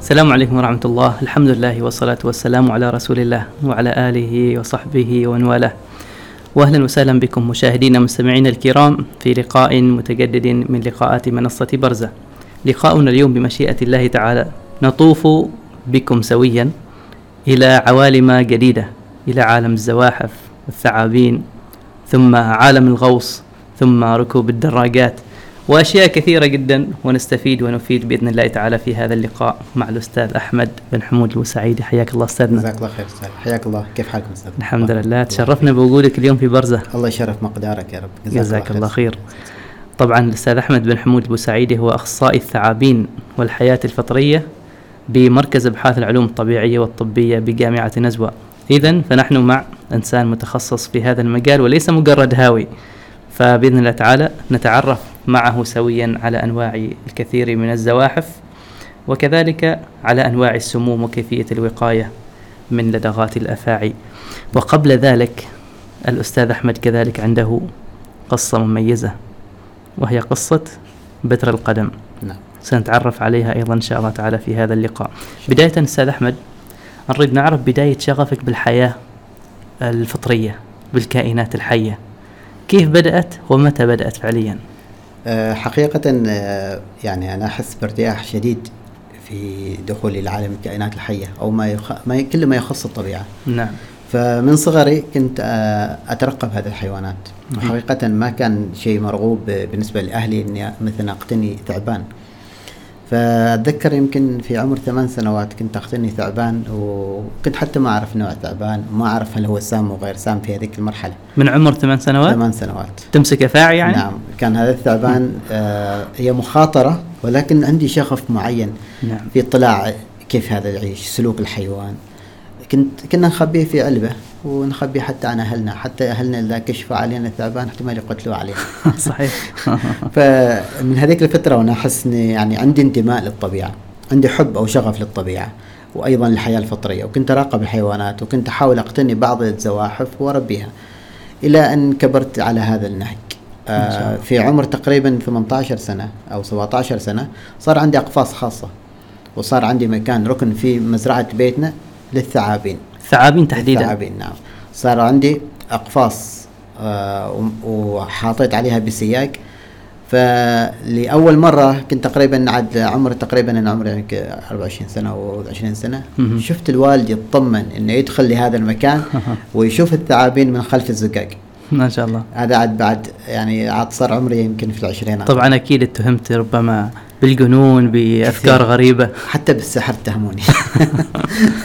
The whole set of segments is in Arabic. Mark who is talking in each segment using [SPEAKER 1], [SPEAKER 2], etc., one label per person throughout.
[SPEAKER 1] السلام عليكم ورحمة الله الحمد لله والصلاة والسلام على رسول الله وعلى آله وصحبه ومن والاه وأهلا وسهلا بكم مشاهدينا مستمعينا الكرام في لقاء متجدد من لقاءات منصة برزة لقاؤنا اليوم بمشيئة الله تعالى نطوف بكم سويا إلى عوالم جديدة إلى عالم الزواحف والثعابين ثم عالم الغوص ثم ركوب الدراجات وأشياء كثيرة جدا ونستفيد ونفيد بإذن الله تعالى في هذا اللقاء مع الأستاذ أحمد بن حمود الوسعيدي حياك الله أستاذنا
[SPEAKER 2] جزاك الله خير استاذ حياك الله كيف حالكم استاذ
[SPEAKER 1] الحمد لله تشرفنا بوجودك اليوم في برزة
[SPEAKER 2] الله يشرف مقدارك يا رب
[SPEAKER 1] جزاك الله خير طبعا الأستاذ أحمد بن حمود البوسعيدي هو أخصائي الثعابين والحياة الفطرية بمركز أبحاث العلوم الطبيعية والطبية بجامعة نزوة إذا فنحن مع إنسان متخصص في هذا المجال وليس مجرد هاوي فبإذن الله تعالى نتعرف معه سويا على أنواع الكثير من الزواحف وكذلك على أنواع السموم وكيفية الوقاية من لدغات الأفاعي وقبل ذلك الأستاذ أحمد كذلك عنده قصة مميزة وهي قصة بتر القدم
[SPEAKER 2] نعم
[SPEAKER 1] سنتعرف عليها أيضا إن شاء الله تعالى في هذا اللقاء بداية أستاذ أحمد نريد نعرف بداية شغفك بالحياة الفطرية بالكائنات الحية كيف بدأت ومتى بدأت فعليا
[SPEAKER 2] آه، حقيقة آه، يعني أنا أحس بارتياح شديد في دخولي لعالم الكائنات الحية أو ما, يخ... ما ي- كل ما يخص الطبيعة
[SPEAKER 1] نعم
[SPEAKER 2] فمن صغري كنت آه، أترقب هذه الحيوانات حقيقة ما كان شيء مرغوب آه، بالنسبة لأهلي إني مثلا أقتني ثعبان فأتذكر يمكن في عمر ثمان سنوات كنت أقتني ثعبان وكنت حتى ما أعرف نوع الثعبان ما أعرف هل هو سام وغير سام في هذيك المرحلة
[SPEAKER 1] من عمر ثمان سنوات
[SPEAKER 2] ثمان سنوات
[SPEAKER 1] تمسك أفاعي أه؟ يعني
[SPEAKER 2] نعم كان هذا الثعبان آه هي مخاطرة ولكن عندي شغف معين
[SPEAKER 1] نعم
[SPEAKER 2] في اطلاع كيف هذا يعيش سلوك الحيوان كنت كنا نخبيه في علبة ونخبيه حتى عن أهلنا حتى أهلنا إذا كشفوا علينا الثعبان احتمال يقتلوه علينا
[SPEAKER 1] صحيح
[SPEAKER 2] فمن هذيك الفترة وأنا أحس إني يعني عندي انتماء للطبيعة عندي حب أو شغف للطبيعة وأيضا الحياة الفطرية وكنت أراقب الحيوانات وكنت أحاول أقتني بعض الزواحف وأربيها إلى أن كبرت على هذا النهج آه في عمر تقريبا 18 سنة أو 17 سنة صار عندي أقفاص خاصة وصار عندي مكان ركن في مزرعة بيتنا للثعابين
[SPEAKER 1] ثعابين تحديدا
[SPEAKER 2] الثعابين نعم صار عندي اقفاص آه، وم- وحاطيت عليها بسياج فلأول مرة كنت تقريبا عاد عمر تقريبا أنا عمري يعني ك- 24 سنة أو 20 سنة
[SPEAKER 1] مهم.
[SPEAKER 2] شفت الوالد يطمن إنه يدخل لهذا المكان ويشوف الثعابين من خلف الزجاج
[SPEAKER 1] ما شاء الله
[SPEAKER 2] هذا عاد بعد يعني عاد صار عمري يمكن في العشرينات
[SPEAKER 1] طبعا أكيد اتهمت ربما بالجنون بأفكار
[SPEAKER 2] كثير.
[SPEAKER 1] غريبة
[SPEAKER 2] حتى بالسحر اتهموني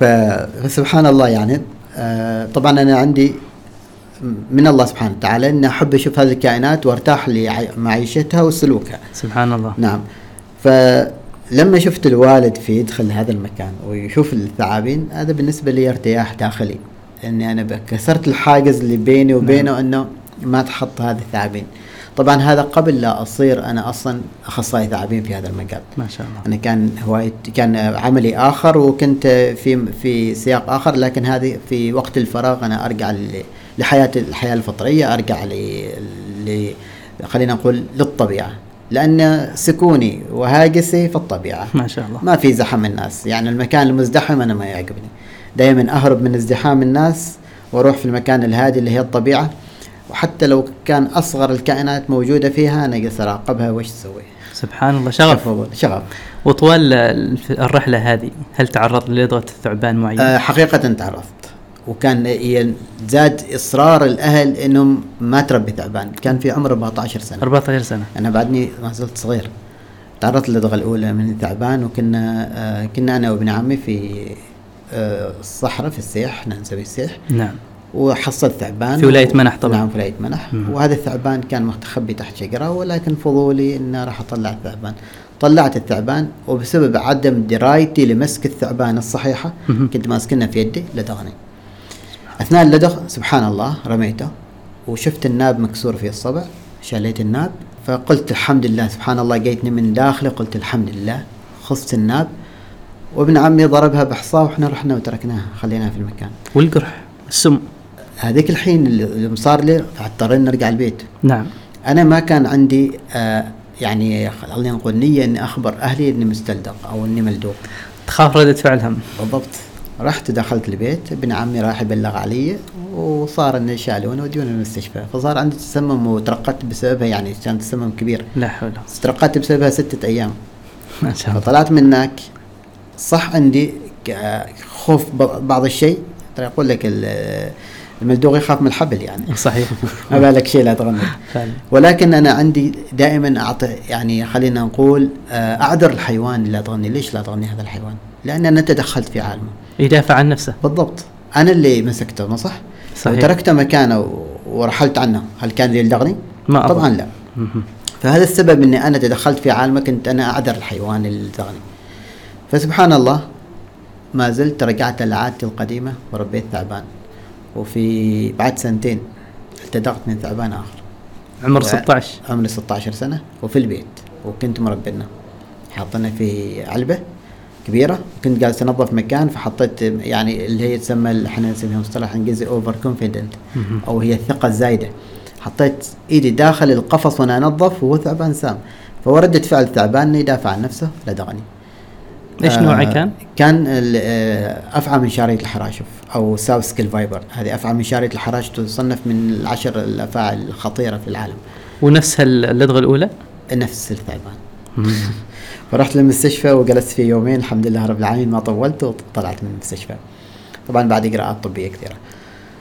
[SPEAKER 2] ف- فسبحان الله يعني آه، طبعا انا عندي من الله سبحانه وتعالى اني احب اشوف هذه الكائنات وارتاح لمعيشتها وسلوكها
[SPEAKER 1] سبحان الله
[SPEAKER 2] نعم فلما شفت الوالد في يدخل هذا المكان ويشوف الثعابين هذا بالنسبه لي ارتياح داخلي اني انا ب- كسرت الحاجز اللي بيني وبينه انه ما تحط هذه الثعابين طبعا هذا قبل لا اصير انا اصلا اخصائي ثعابين في هذا المجال
[SPEAKER 1] ما شاء الله
[SPEAKER 2] انا يعني كان هوايتي كان عملي اخر وكنت في في سياق اخر لكن هذه في وقت الفراغ انا ارجع ل- لحياه الحياه الفطريه ارجع ل ل- خلينا نقول للطبيعه لان سكوني وهاجسي في الطبيعه
[SPEAKER 1] ما شاء الله
[SPEAKER 2] ما في زحم الناس يعني المكان المزدحم انا ما يعجبني دائما اهرب من ازدحام الناس واروح في المكان الهادي اللي هي الطبيعه وحتى لو كان اصغر الكائنات موجوده فيها انا اقدر اراقبها وايش تسوي
[SPEAKER 1] سبحان الله شغف
[SPEAKER 2] شغف
[SPEAKER 1] وطوال ال- الرحلة هذه هل تعرضت للدغة ثعبان معين؟
[SPEAKER 2] آه، حقيقة تعرفت وكان ي- زاد إصرار الأهل إنهم ما تربي ثعبان كان في عمر 14 سنة
[SPEAKER 1] 14 سنة
[SPEAKER 2] أنا بعدني ما زلت صغير تعرضت للدغة الأولى من الثعبان وكنا آه، كنا أنا وابن عمي في آه، الصحراء في السيح احنا نسوي السيح
[SPEAKER 1] نعم
[SPEAKER 2] وحصل ثعبان
[SPEAKER 1] في ولاية منح طبعاً.
[SPEAKER 2] نعم في ولاية منح
[SPEAKER 1] مم.
[SPEAKER 2] وهذا الثعبان كان متخبي تحت شجرة ولكن فضولي إني راح أطلع الثعبان طلعت الثعبان وبسبب عدم درايتي لمسك الثعبان الصحيحة
[SPEAKER 1] مهم.
[SPEAKER 2] كنت ماسكنه في يدي لدغني أثناء اللدغ سبحان الله رميته وشفت الناب مكسور في الصبع شاليت الناب فقلت الحمد لله سبحان الله جيتني من داخلي قلت الحمد لله خفت الناب وابن عمي ضربها بحصاه واحنا رحنا وتركناها خليناها في المكان
[SPEAKER 1] والقرح السم
[SPEAKER 2] هذيك الحين اللي اللي صار لي فاضطرينا نرجع البيت
[SPEAKER 1] نعم
[SPEAKER 2] انا ما كان عندي آه يعني خلينا نقول نية إني أخبر أهلي إني مستلدق أو إني ملدوق
[SPEAKER 1] تخاف ردة فعلهم
[SPEAKER 2] بالضبط رحت دخلت البيت ابن عمي راح يبلغ علي وصار انه شالون وديوني المستشفى فصار عندي تسمم وترقدت بسببها يعني كان تسمم كبير
[SPEAKER 1] لا حول ولا قوة.
[SPEAKER 2] ترقدت بسببها ستة ايام
[SPEAKER 1] ما شاء الله
[SPEAKER 2] فطلعت من هناك صح عندي ك- خوف ب- بعض الشيء ترى يقول لك ال- الملدوغ يخاف من الحبل يعني
[SPEAKER 1] صحيح
[SPEAKER 2] ما بالك شيء لا تغمض
[SPEAKER 1] فعلا
[SPEAKER 2] ولكن انا عندي دائما اعطي يعني خلينا نقول آه، اعذر الحيوان اللي لا تغني ليش لا تغني هذا الحيوان لان انا تدخلت في عالمه
[SPEAKER 1] يدافع عن نفسه
[SPEAKER 2] بالضبط انا اللي مسكته ما صح؟
[SPEAKER 1] صحيح.
[SPEAKER 2] وتركته مكانه و- ورحلت عنه هل كان ذي الدغني؟
[SPEAKER 1] ما أظن.
[SPEAKER 2] طبعا لا
[SPEAKER 1] مهم.
[SPEAKER 2] فهذا السبب اني انا تدخلت في عالمه كنت انا اعذر الحيوان اللي دغني فسبحان الله ما زلت رجعت لعادتي القديمه وربيت ثعبان وفي بعد سنتين التدغت من ثعبان اخر
[SPEAKER 1] عمر
[SPEAKER 2] وع-
[SPEAKER 1] 16
[SPEAKER 2] عمري 16 سنه وفي البيت وكنت مربينا حاطينه في علبه كبيره كنت جالس انظف مكان فحطيت يعني اللي هي تسمى احنا نسميها مصطلح انجليزي اوفر كونفيدنت
[SPEAKER 1] مهم.
[SPEAKER 2] او هي الثقه الزايده حطيت ايدي داخل القفص وانا انظف وهو ثعبان سام فوردت فعل ثعبان إنه يدافع عن نفسه لدغني
[SPEAKER 1] ايش
[SPEAKER 2] آه،
[SPEAKER 1] نوعه كان؟
[SPEAKER 2] كان ال- آه، افعى من شاريه الحراشف او ساوث سكيل فايبر هذه افعى من شاريه الحراشف تصنف من العشر الافاعي الخطيره في العالم
[SPEAKER 1] ونفسها ال- اللدغه الاولى؟
[SPEAKER 2] نفس الثعبان
[SPEAKER 1] مهم.
[SPEAKER 2] فرحت للمستشفى وجلست فيه يومين الحمد لله رب العالمين ما طولت وطلعت من المستشفى طبعا بعد اجراءات طبيه كثيره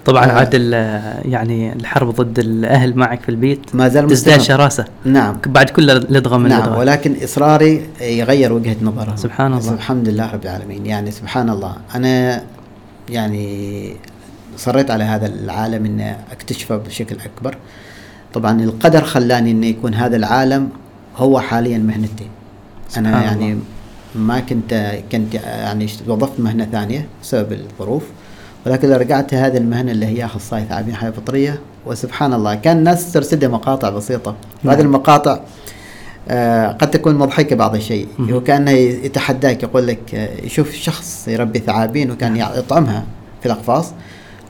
[SPEAKER 1] طبعا
[SPEAKER 2] آه.
[SPEAKER 1] عاد ال- يعني الحرب ضد الاهل معك في البيت
[SPEAKER 2] ما زال
[SPEAKER 1] تزداد
[SPEAKER 2] مستمر.
[SPEAKER 1] شراسه
[SPEAKER 2] نعم
[SPEAKER 1] بعد كل لدغه من
[SPEAKER 2] نعم
[SPEAKER 1] اللدغه
[SPEAKER 2] ولكن اصراري يغير وجهه نظره
[SPEAKER 1] سبحان الله.
[SPEAKER 2] الحمد لله رب العالمين يعني سبحان الله انا يعني صريت على هذا العالم ان اكتشفه بشكل اكبر طبعا القدر خلاني ان يكون هذا العالم هو حاليا مهنتي
[SPEAKER 1] سبحان
[SPEAKER 2] انا
[SPEAKER 1] الله.
[SPEAKER 2] يعني ما كنت كنت يعني وظفت مهنه ثانيه بسبب الظروف ولكن رجعت هذه المهنه اللي هي اخصائي ثعابين حياه فطريه وسبحان الله كان الناس ترسل مقاطع بسيطه وهذه
[SPEAKER 1] نعم.
[SPEAKER 2] المقاطع آه، قد تكون مضحكه بعض الشيء
[SPEAKER 1] مهم.
[SPEAKER 2] وكانه يتحداك يقول لك آه، يشوف شخص يربي ثعابين وكان
[SPEAKER 1] نعم.
[SPEAKER 2] يطعمها في الاقفاص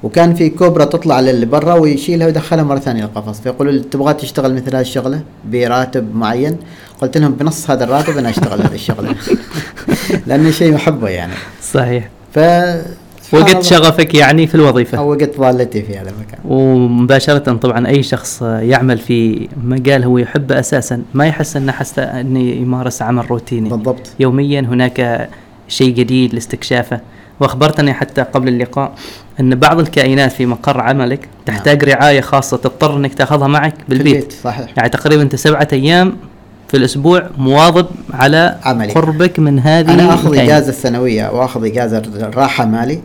[SPEAKER 2] وكان في كوبرا تطلع لبرا ويشيلها ويدخلها مره ثانيه القفص فيقولوا لي تبغى تشتغل مثل هذه الشغله براتب معين قلت لهم بنص هذا الراتب انا اشتغل هذه الشغله لانه شيء محبه يعني
[SPEAKER 1] صحيح
[SPEAKER 2] ف
[SPEAKER 1] وجدت شغفك يعني في الوظيفه
[SPEAKER 2] او وقت ضالتي في هذا المكان
[SPEAKER 1] ومباشرة طبعا أي شخص يعمل في مجال هو يحبه أساسا ما يحس أنه حس أنه يمارس عمل روتيني
[SPEAKER 2] بالضبط
[SPEAKER 1] يوميا هناك شيء جديد لاستكشافه وأخبرتني حتى قبل اللقاء أن بعض الكائنات في مقر عملك تحتاج رعاية خاصة تضطر أنك تأخذها معك
[SPEAKER 2] نعم. في
[SPEAKER 1] بالبيت
[SPEAKER 2] صحيح
[SPEAKER 1] يعني تقريبا أنت سبعة أيام في الأسبوع مواظب على
[SPEAKER 2] عملي.
[SPEAKER 1] قربك من هذه
[SPEAKER 2] انا اخذ
[SPEAKER 1] الكائنات.
[SPEAKER 2] اجازه سنويه واخذ اجازه راحه مالي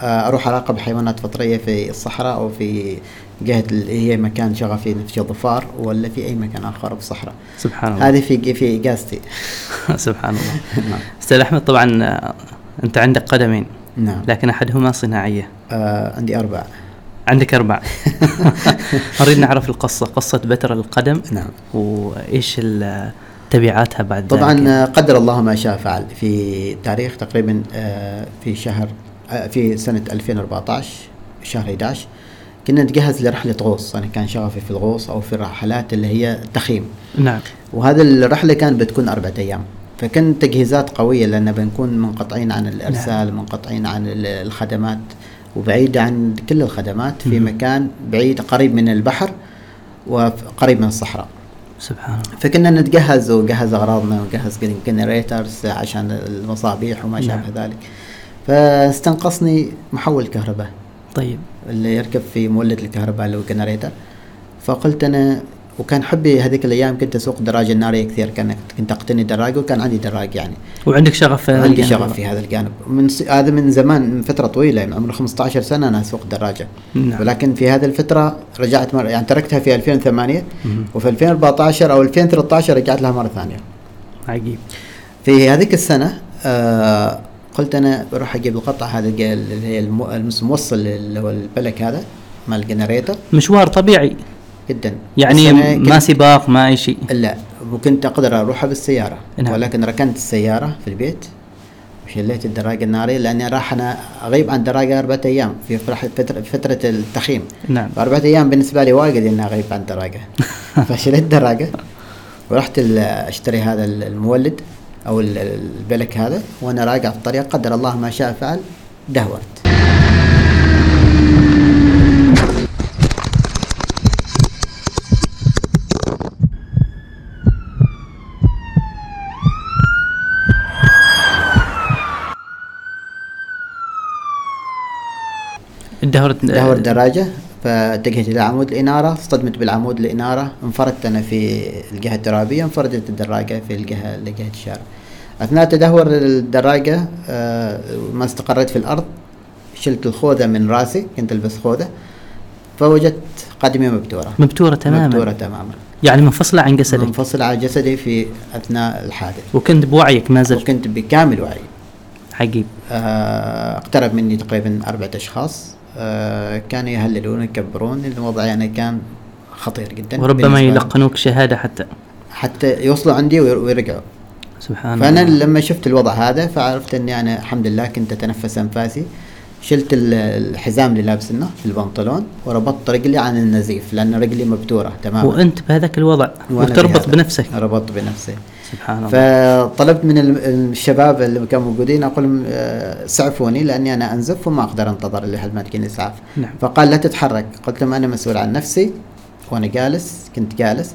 [SPEAKER 2] آه، اروح اراقب حيوانات فطريه في الصحراء او في جهه اللي هي مكان شغفي في الظفار ولا في اي مكان اخر في الصحراء
[SPEAKER 1] سبحان الله
[SPEAKER 2] هذه في في اجازتي
[SPEAKER 1] سبحان الله استاذ احمد طبعا آه، انت عندك قدمين
[SPEAKER 2] نعم
[SPEAKER 1] لكن احدهما صناعيه
[SPEAKER 2] آه عندي اربع
[SPEAKER 1] عندك اربع نريد نعرف القصه قصه بتر القدم
[SPEAKER 2] نعم
[SPEAKER 1] وايش ال- تبعاتها بعد
[SPEAKER 2] طبعا
[SPEAKER 1] ذلك
[SPEAKER 2] آه، قدر الله ما شاء فعل في تاريخ تقريبا آه، في شهر آه، في سنه 2014 شهر 11 كنا نتجهز لرحله غوص انا كان شغفي في الغوص او في الرحلات اللي هي التخييم
[SPEAKER 1] نعم
[SPEAKER 2] وهذا الرحلة كانت بتكون أربعة أيام فكان تجهيزات قوية لأن بنكون منقطعين عن الإرسال منقطعين عن ال- الخدمات وبعيد عن كل الخدمات في
[SPEAKER 1] مم.
[SPEAKER 2] مكان بعيد قريب من البحر وقريب من الصحراء
[SPEAKER 1] سبحان الله
[SPEAKER 2] فكنا نتجهز وجهز أغراضنا وجهز جنريترز عشان المصابيح وما
[SPEAKER 1] نعم.
[SPEAKER 2] شابه ذلك فاستنقصني محول كهرباء
[SPEAKER 1] طيب
[SPEAKER 2] اللي يركب في مولد الكهرباء اللي هو جنريتر فقلت انا وكان حبي هذيك الايام كنت اسوق الدراجه الناريه كثير كان كنت اقتني دراجه وكان عندي دراج يعني
[SPEAKER 1] وعندك شغف يعني في هذا
[SPEAKER 2] عندي
[SPEAKER 1] الجانب.
[SPEAKER 2] شغف في هذا الجانب من س... هذا من زمان من يعني فتره طويله من عمر 15 سنه انا اسوق دراجه
[SPEAKER 1] نعم.
[SPEAKER 2] ولكن في هذه الفتره رجعت مر... يعني تركتها في 2008
[SPEAKER 1] مهم.
[SPEAKER 2] وفي 2014 او 2013 رجعت لها مره ثانيه
[SPEAKER 1] عجيب
[SPEAKER 2] في هذيك السنة آه قلت أنا بروح أجيب القطعة هذا الج- اللي هي الم- المس- الموصل اللي هو البلك هذا مال الجنريتر
[SPEAKER 1] مشوار طبيعي
[SPEAKER 2] جدا
[SPEAKER 1] يعني
[SPEAKER 2] بس أنا
[SPEAKER 1] ما
[SPEAKER 2] كنت-
[SPEAKER 1] سباق ما اي شيء
[SPEAKER 2] لا وكنت أقدر أروحها بالسيارة
[SPEAKER 1] نعم.
[SPEAKER 2] نعم. ولكن ركنت السيارة في البيت وشليت الدراجة النارية لأني راح أنا أغيب عن دراجة أربعة أيام في فرح- فترة, فترة التخييم
[SPEAKER 1] نعم
[SPEAKER 2] أربعة أيام بالنسبة لي واجد إني أغيب عن دراجة فشليت دراجة ورحت ال- اشتري هذا ال- المولد او ال- البلك هذا وانا راجع في الطريق قدر الله ما شاء فعل دهورت
[SPEAKER 1] دهورت
[SPEAKER 2] دهور دراجة فاتجهت إلى عمود الإنارة اصطدمت بالعمود الإنارة انفردت أنا في الجهة الترابية انفردت الدراجة في الجهة اللي جهة الشارع أثناء تدهور الدراجة آه، ما استقريت في الأرض شلت الخوذة من راسي كنت ألبس خوذة فوجدت قدمي مبتورة نعم.
[SPEAKER 1] مبتورة تماما
[SPEAKER 2] مبتورة تماما
[SPEAKER 1] يعني منفصلة عن جسدك
[SPEAKER 2] منفصل على جسدي في أثناء الحادث
[SPEAKER 1] وكنت بوعيك ما زلت
[SPEAKER 2] وكنت بكامل وعي
[SPEAKER 1] حقيقي
[SPEAKER 2] آه، اقترب مني تقريبا أربعة أشخاص آه، كانوا يهللون يكبرون الوضع يعني كان خطير جدا
[SPEAKER 1] وربما
[SPEAKER 2] بالنسبة لهم.
[SPEAKER 1] يلقنوك شهادة حتى
[SPEAKER 2] حتى يوصلوا عندي وير- ويرجعوا
[SPEAKER 1] سبحان
[SPEAKER 2] فأنا
[SPEAKER 1] الله
[SPEAKER 2] لما شفت الوضع هذا فعرفت أني أنا الحمد لله كنت أتنفس أنفاسي شلت ال- الحزام اللي لابسنه في البنطلون وربطت رجلي عن النزيف لأن رجلي مبتورة تماما
[SPEAKER 1] وأنت بهذاك الوضع
[SPEAKER 2] وأنا
[SPEAKER 1] وتربط
[SPEAKER 2] بهذا.
[SPEAKER 1] بنفسك
[SPEAKER 2] ربطت بنفسي
[SPEAKER 1] سبحان الله
[SPEAKER 2] فطلبت من ال- الشباب اللي كانوا موجودين اقول لهم آه، سعفوني لاني انا انزف وما اقدر انتظر لحد ما تجيني اسعاف
[SPEAKER 1] نعم.
[SPEAKER 2] فقال لا تتحرك قلت لهم انا مسؤول عن نفسي وانا جالس كنت جالس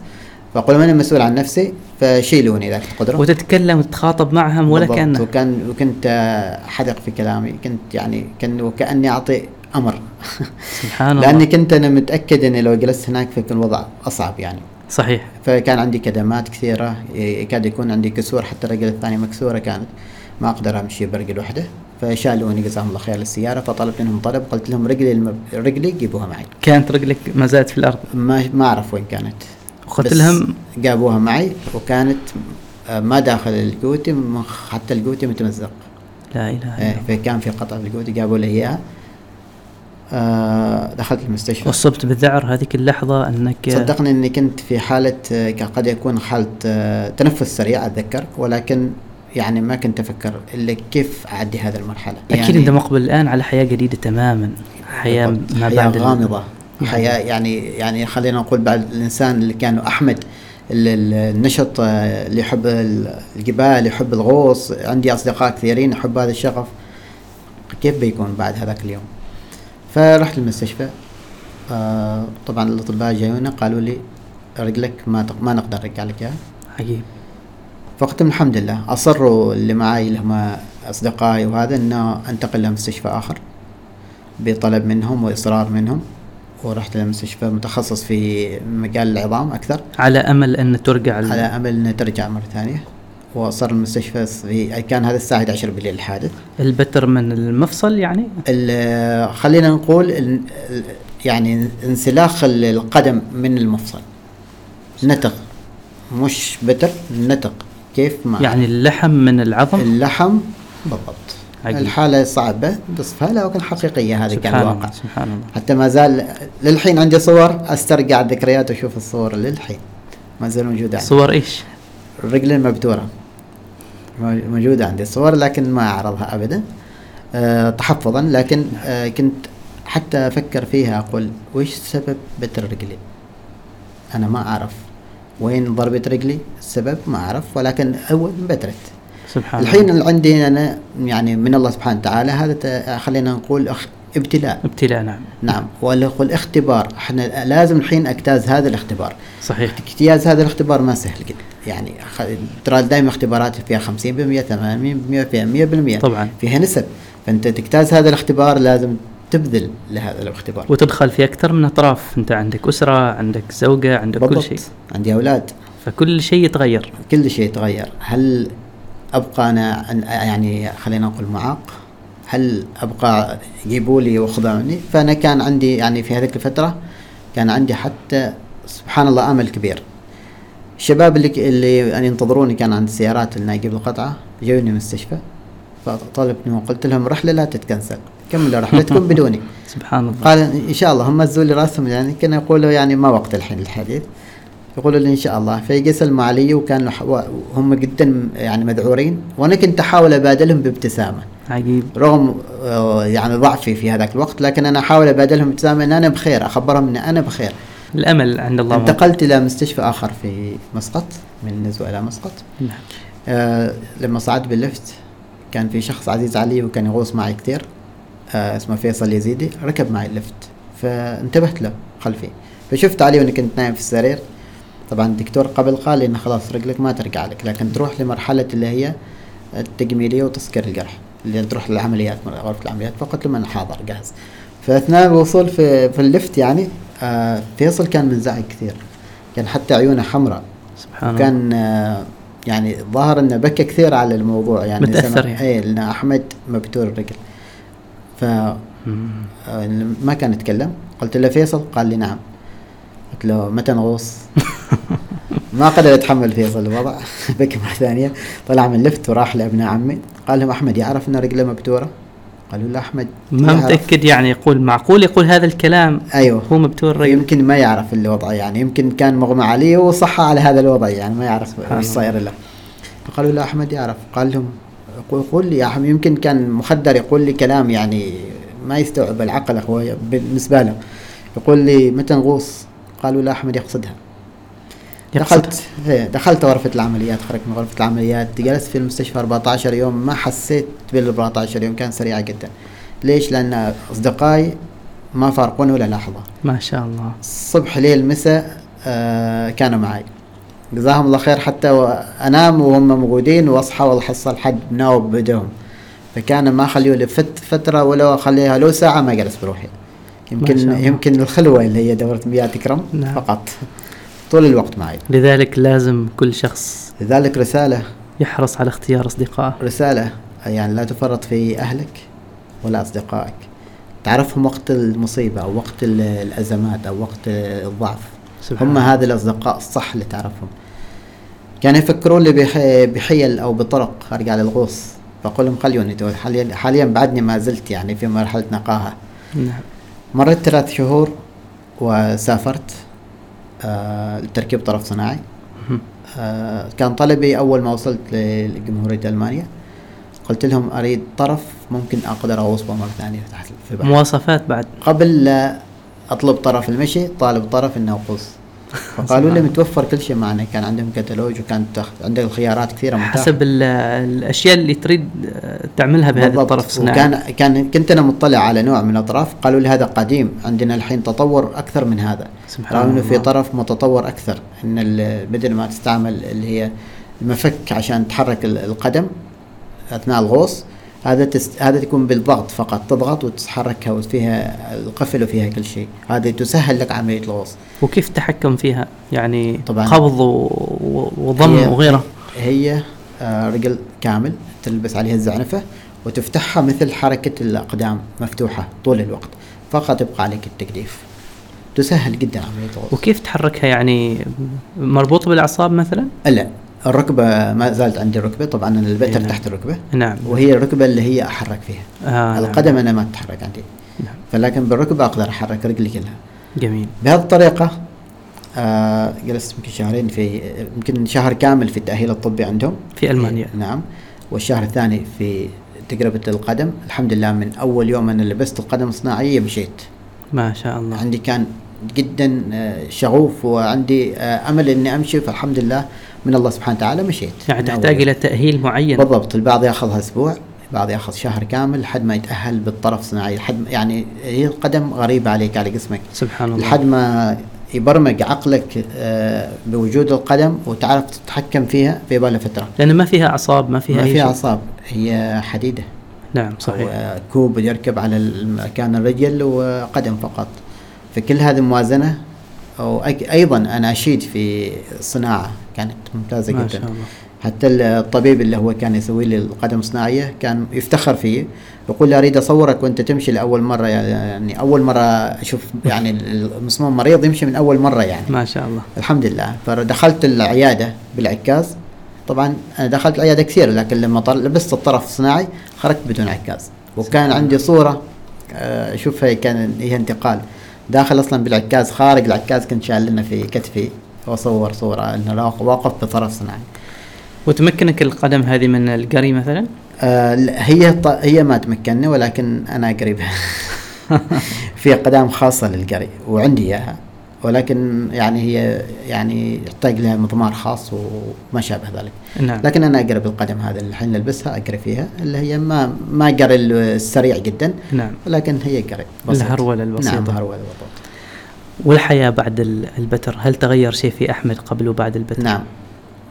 [SPEAKER 2] فقلت لهم انا مسؤول عن نفسي فشيلوني اذا تقدروا
[SPEAKER 1] وتتكلم وتتخاطب معهم ولا
[SPEAKER 2] بالضبط.
[SPEAKER 1] كأنه
[SPEAKER 2] وكان وكنت آه، حذق في كلامي كنت يعني كان وكاني اعطي امر
[SPEAKER 1] سبحان الله
[SPEAKER 2] لاني كنت انا متاكد اني لو جلست هناك فيكون الوضع اصعب يعني
[SPEAKER 1] صحيح
[SPEAKER 2] فكان عندي كدمات كثيرة يكاد يكون عندي كسور حتى الرجل الثاني مكسورة كانت ما أقدر أمشي برجل واحدة فشالوني جزاهم الله خير للسيارة فطلبت منهم طلب قلت لهم رجلي المب... رجلي جيبوها معي
[SPEAKER 1] كانت رجلك ما زالت في الأرض
[SPEAKER 2] ما ما أعرف وين كانت
[SPEAKER 1] وقلت
[SPEAKER 2] بس
[SPEAKER 1] لهم
[SPEAKER 2] جابوها معي وكانت آه، ما داخل الجوتي م- حتى الجوتي متمزق
[SPEAKER 1] لا إله إلا
[SPEAKER 2] آه،
[SPEAKER 1] الله
[SPEAKER 2] فكان في قطع في الجوتي جابوا لي إياها آه، دخلت المستشفى
[SPEAKER 1] أصبت بالذعر هذيك اللحظة أنك
[SPEAKER 2] صدقني اني كنت في حاله آه، كان قد يكون حاله آه، تنفس سريع اتذكر ولكن يعني ما كنت افكر الا كيف اعدي هذه يعني المرحله
[SPEAKER 1] أكيد أنت مقبل الآن على حياة جديدة تماما حياة
[SPEAKER 2] بالضبط.
[SPEAKER 1] ما
[SPEAKER 2] حياه
[SPEAKER 1] بعد ال-
[SPEAKER 2] غامضه حياه يعني يعني خلينا نقول بعد الانسان اللي كان احمد ال- ال- النشط آه، اللي يحب ال- الجبال يحب الغوص عندي اصدقاء كثيرين يحب هذا الشغف كيف بيكون بعد هذاك اليوم فرحت المستشفى آه، طبعا الاطباء جايونا قالوا لي رجلك ما تق- ما نقدر نرجع لك اياها
[SPEAKER 1] حقيقي
[SPEAKER 2] فقلت لهم الحمد لله اصروا اللي معاي اللي هم اصدقائي وهذا انه انتقل لمستشفى اخر بطلب منهم واصرار منهم ورحت لمستشفى متخصص في مجال العظام اكثر
[SPEAKER 1] على أمل أن ترجع ال-
[SPEAKER 2] على امل انها ترجع مره ثانيه وصار المستشفى في كان هذا الساعه 11 بالليل الحادث
[SPEAKER 1] البتر من المفصل يعني
[SPEAKER 2] ال- خلينا نقول ال- ال- يعني انسلاخ ال- القدم من المفصل نتق مش بتر نتق كيف ما
[SPEAKER 1] يعني اللحم من العظم
[SPEAKER 2] اللحم بالضبط
[SPEAKER 1] عجيب.
[SPEAKER 2] الحالة صعبة بصفها لكن حقيقية هذا كان
[SPEAKER 1] سبحان
[SPEAKER 2] الواقع
[SPEAKER 1] الله سبحان الله
[SPEAKER 2] حتى ما زال للحين عندي صور استرجع الذكريات واشوف الصور للحين ما زال موجودة عندي
[SPEAKER 1] صور إيش
[SPEAKER 2] الرجل المبتورة مو- موجودة عندي صور لكن ما أعرضها أبدا أه تحفظا لكن أه كنت حتى أفكر فيها أقول وش سبب بتر رجلي أنا ما أعرف وين ضربة رجلي السبب ما أعرف ولكن أول بترت
[SPEAKER 1] سبحان الله
[SPEAKER 2] الحين عندي انا يعني من الله سبحانه وتعالى هذا ت- خلينا نقول أخ- ابتلاء
[SPEAKER 1] ابتلاء نعم
[SPEAKER 2] نعم ولا نقول اختبار احنا لازم الحين اجتاز هذا الاختبار
[SPEAKER 1] صحيح
[SPEAKER 2] اجتياز هذا الاختبار ما سهل جدا يعني خ- ترى دائما اختبارات فيها 50% 80% فيها 100%
[SPEAKER 1] طبعاً.
[SPEAKER 2] فيها نسب فانت تجتاز هذا الاختبار لازم تبذل لهذا الاختبار
[SPEAKER 1] وتدخل في أكثر من أطراف أنت عندك أسرة عندك زوجة عندك كل
[SPEAKER 2] بالضبط.
[SPEAKER 1] شيء
[SPEAKER 2] عندي اولاد
[SPEAKER 1] فكل شيء يتغير
[SPEAKER 2] كل شيء تغير هل ابقى انا عن- يعني خلينا نقول معاق هل ابقى يجيبوا لي وخضعوني فانا كان عندي يعني في هذيك الفتره كان عندي حتى سبحان الله امل كبير الشباب اللي اللي يعني ينتظروني كان عند السيارات اللي اجيب القطعه جوني المستشفى فطلبني وقلت لهم رحله لا تتكنسل كملوا رحلتكم بدوني
[SPEAKER 1] سبحان الله
[SPEAKER 2] قال ان شاء الله هم مزوا لي راسهم يعني كانوا يقولوا يعني ما وقت الحين الحديث يقولوا لي ان شاء الله فيجلس الم علي وكانوا ح- و- هم جدا يعني مذعورين وانا كنت احاول ابادلهم بابتسامه
[SPEAKER 1] عجيب
[SPEAKER 2] رغم آه، يعني ضعفي في هذاك الوقت لكن انا احاول ابادلهم ابتسامه ان انا بخير اخبرهم ان انا بخير
[SPEAKER 1] الامل عند الله موجود.
[SPEAKER 2] انتقلت إلى مستشفى آخر في مسقط من نزوة إلى مسقط
[SPEAKER 1] نعم.
[SPEAKER 2] آه لما صعدت باللفت كان في شخص عزيز علي وكان يغوص معي كثير آه اسمه فيصل يزيدي ركب معي اللفت فانتبهت له خلفي فشفت علي وانا كنت نايم في السرير طبعا الدكتور قبل قال لي انه خلاص رجلك ما ترجع لك لكن تروح لمرحله اللي هي التجميليه وتسكير الجرح اللي تروح للعمليات غرفه العمليات فقلت له ما انا حاضر جاهز فاثناء الوصول في, في اللفت يعني آه فيصل كان منزعج كثير كان حتى عيونه حمراء
[SPEAKER 1] سبحان الله
[SPEAKER 2] كان آه، يعني ظاهر انه بكى كثير على الموضوع يعني
[SPEAKER 1] متأثر
[SPEAKER 2] سمع-
[SPEAKER 1] يعني.
[SPEAKER 2] اي لان احمد مبتور الرجل ف
[SPEAKER 1] مم.
[SPEAKER 2] آه، ما كان يتكلم قلت له فيصل قال لي نعم قلت له متى نغوص ما قدر يتحمل فيصل الوضع بكى مره ثانيه طلع من لفت وراح لابناء عمي قال لهم احمد يعرف ان رجله مبتوره قالوا له احمد
[SPEAKER 1] ما
[SPEAKER 2] يعرف. أيوه.
[SPEAKER 1] متاكد يعني يقول معقول يقول هذا الكلام
[SPEAKER 2] ايوع
[SPEAKER 1] هو مبتور رجل
[SPEAKER 2] يمكن ما يعرف الوضع يعني يمكن كان مغمى عليه وصحى على هذا الوضع يعني ما يعرف
[SPEAKER 1] سبحان
[SPEAKER 2] ايش
[SPEAKER 1] الله.
[SPEAKER 2] صاير له فقالوا لا احمد يعرف قال لهم قول- قول لي يا احمد يمكن كان مخدر يقول لي كلام يعني ما يستوعب العقل هو بالنسبه له يقول لي متى نغوص قالوا لا احمد يقصدها
[SPEAKER 1] يقصد
[SPEAKER 2] دخلت إيه، دخلت غرفة العمليات خرجت من غرفة العمليات جلست في المستشفى 14 يوم ما حسيت بال 14 يوم كان سريعة جدا ليش؟ لأن أصدقائي ما فارقوني ولا لحظة
[SPEAKER 1] ما شاء الله
[SPEAKER 2] صبح ليل مساء آه كانوا معي جزاهم الله خير حتى انام وهم موجودين واصحى والحصه لحد ناوب بدهم فكان ما خليه لي فت فتره ولو اخليها لو ساعه ما جلس بروحي
[SPEAKER 1] ما شاء
[SPEAKER 2] يمكن
[SPEAKER 1] الله.
[SPEAKER 2] يمكن الخلوه اللي هي دوره مياه تكرم
[SPEAKER 1] نعم.
[SPEAKER 2] فقط طول الوقت معي
[SPEAKER 1] لذلك لازم كل شخص
[SPEAKER 2] لذلك رساله
[SPEAKER 1] يحرص على اختيار اصدقائه
[SPEAKER 2] رساله يعني لا تفرط في اهلك ولا اصدقائك تعرفهم وقت المصيبه او وقت ال- الازمات او وقت الضعف
[SPEAKER 1] سبحان
[SPEAKER 2] هم
[SPEAKER 1] الله.
[SPEAKER 2] هذا الأصدقاء الصح اللي تعرفهم كانوا يفكرون لي بح- بحيل أو بطرق أرجع للغوص فأقول لهم خلوني دول حاليا حاليا بعدني ما زلت يعني في مرحلة نقاهة
[SPEAKER 1] نعم
[SPEAKER 2] مريت ثلاث شهور وسافرت آه لتركيب طرف صناعي
[SPEAKER 1] مم.
[SPEAKER 2] آه كان طلبي أول ما وصلت لجمهورية ألمانيا قلت لهم أريد طرف ممكن أقدر أغوص به مرة ثانية تحت في البحر
[SPEAKER 1] مواصفات بعد
[SPEAKER 2] قبل لا اطلب طرف المشي طالب طرف النوقوص فقالوا لي متوفر كل شيء معنا كان عندهم كتالوج وكانت تخ- عندك الخيارات كثيره متاحه
[SPEAKER 1] حسب ال- الاشياء اللي تريد آه، تعملها بهذا
[SPEAKER 2] بالضبط.
[SPEAKER 1] الطرف نعم. الصناعي
[SPEAKER 2] وكان كان كنت انا مطلع على نوع من الاطراف قالوا لي هذا قديم عندنا الحين تطور اكثر من هذا
[SPEAKER 1] سبحان
[SPEAKER 2] رغم انه في
[SPEAKER 1] الله.
[SPEAKER 2] طرف متطور اكثر ان ال- بدل ما تستعمل اللي هي المفك عشان تحرك ال- القدم اثناء الغوص هذا تست... هذا تكون بالضغط فقط تضغط وتتحركها وفيها القفل وفيها كل شيء هذه تسهل لك عمليه الغوص
[SPEAKER 1] وكيف التحكم فيها يعني
[SPEAKER 2] طبعاً.
[SPEAKER 1] قبض و- و- وضم
[SPEAKER 2] هي-
[SPEAKER 1] وغيره
[SPEAKER 2] هي آه، رجل كامل تلبس عليها الزعنفة وتفتحها مثل حركة الأقدام مفتوحة طول الوقت فقط يبقى عليك التجديف تسهل جدا عملية الغوص
[SPEAKER 1] وكيف تحركها يعني مربوطه بالاعصاب مثلا
[SPEAKER 2] لا الركبة ما زالت عندي الركبة طبعا أنا
[SPEAKER 1] إيه،
[SPEAKER 2] البتر
[SPEAKER 1] نعم.
[SPEAKER 2] تحت الركبة
[SPEAKER 1] نعم
[SPEAKER 2] وهي الركبة اللي هي أحرك فيها
[SPEAKER 1] آه
[SPEAKER 2] القدم أنا ما تتحرك عندي
[SPEAKER 1] نعم.
[SPEAKER 2] فلكن بالركبة أقدر أحرك رجلي كلها
[SPEAKER 1] جميل
[SPEAKER 2] بهذه الطريقة آه جلست يمكن شهرين في يمكن شهر كامل في التأهيل الطبي عندهم
[SPEAKER 1] في المانيا
[SPEAKER 2] نعم والشهر الثاني في تجربة القدم الحمد لله من أول يوم أنا لبست القدم الصناعية مشيت
[SPEAKER 1] ما شاء الله
[SPEAKER 2] عندي كان جدا آه، شغوف وعندي آه، أمل إني أمشي فالحمد لله من الله سبحانه وتعالى مشيت
[SPEAKER 1] يعني
[SPEAKER 2] من أول
[SPEAKER 1] تحتاج
[SPEAKER 2] يوم.
[SPEAKER 1] الى تاهيل معين
[SPEAKER 2] نعم. بالضبط البعض ياخذها اسبوع البعض ياخذ شهر كامل لحد ما يتاهل بالطرف صناعي لحد ما- يعني هي القدم غريبه عليك على جسمك
[SPEAKER 1] سبحان الله
[SPEAKER 2] لحد ما يبرمج عقلك آه، بوجود القدم وتعرف تتحكم فيها في بالها فتره
[SPEAKER 1] لان ما فيها اعصاب ما فيها
[SPEAKER 2] ما
[SPEAKER 1] اي
[SPEAKER 2] فيها
[SPEAKER 1] شيء.
[SPEAKER 2] اعصاب هي حديده
[SPEAKER 1] نعم صحيح
[SPEAKER 2] هو يعني. كوب يركب على مكان الرجل وقدم فقط فكل هذه الموازنه أو أك- ايضا انا اشيد في الصناعه كانت ممتازه
[SPEAKER 1] ما
[SPEAKER 2] جدا
[SPEAKER 1] شاء الله
[SPEAKER 2] حتى الطبيب اللي هو كان يسوي لي القدم صناعيه كان يفتخر فيه يقول لي اريد اصورك وانت تمشي لاول مره يعني اول مره اشوف يعني المسموم مريض يمشي من اول مره يعني
[SPEAKER 1] ما شاء الله
[SPEAKER 2] الحمد لله فدخلت العياده بالعكاز طبعا انا دخلت العياده كثير لكن لما طل- لبست الطرف الصناعي خرجت بدون عكاز وكان عندي صوره آه، اشوفها كان هي انتقال داخل اصلا بالعكاز خارج العكاز كنت شايل لنا في كتفي واصور صوره انه واق- واقف بطرف صناعي
[SPEAKER 1] وتمكنك القدم هذه من القري مثلا
[SPEAKER 2] آه، لا، هي ط- هي ما تمكنني ولكن انا قريبها في اقدام خاصه للقري وعندي اياها ولكن يعني هي يعني يحتاج لها مضمار خاص وما شابه ذلك
[SPEAKER 1] نعم
[SPEAKER 2] لكن انا اقرا بالقدم هذا اللي الحين نلبسها اقرا فيها اللي هي ما ما قرا السريع جدا
[SPEAKER 1] نعم
[SPEAKER 2] لكن هي قرا بسيط.
[SPEAKER 1] الهرولة البسيطة.
[SPEAKER 2] نعم هرولة بالضبط
[SPEAKER 1] والحياة بعد ال- البتر هل تغير شيء في أحمد قبل وبعد البتر؟
[SPEAKER 2] نعم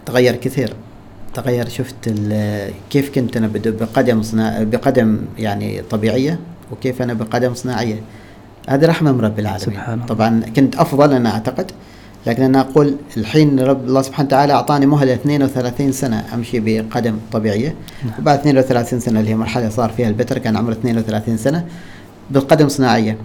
[SPEAKER 2] تغير كثير تغير شفت ال- كيف كنت انا بد- بقدم صنا... بقدم يعني طبيعيه وكيف انا بقدم صناعيه هذه رحمه من رب العالمين
[SPEAKER 1] سبحان الله.
[SPEAKER 2] طبعا كنت افضل انا اعتقد لكن انا اقول الحين رب الله سبحانه وتعالى اعطاني مهله 32 سنه امشي بقدم طبيعيه
[SPEAKER 1] نعم.
[SPEAKER 2] وبعد 32 سنه اللي هي مرحله صار فيها البتر كان عمره 32 سنه بالقدم صناعيه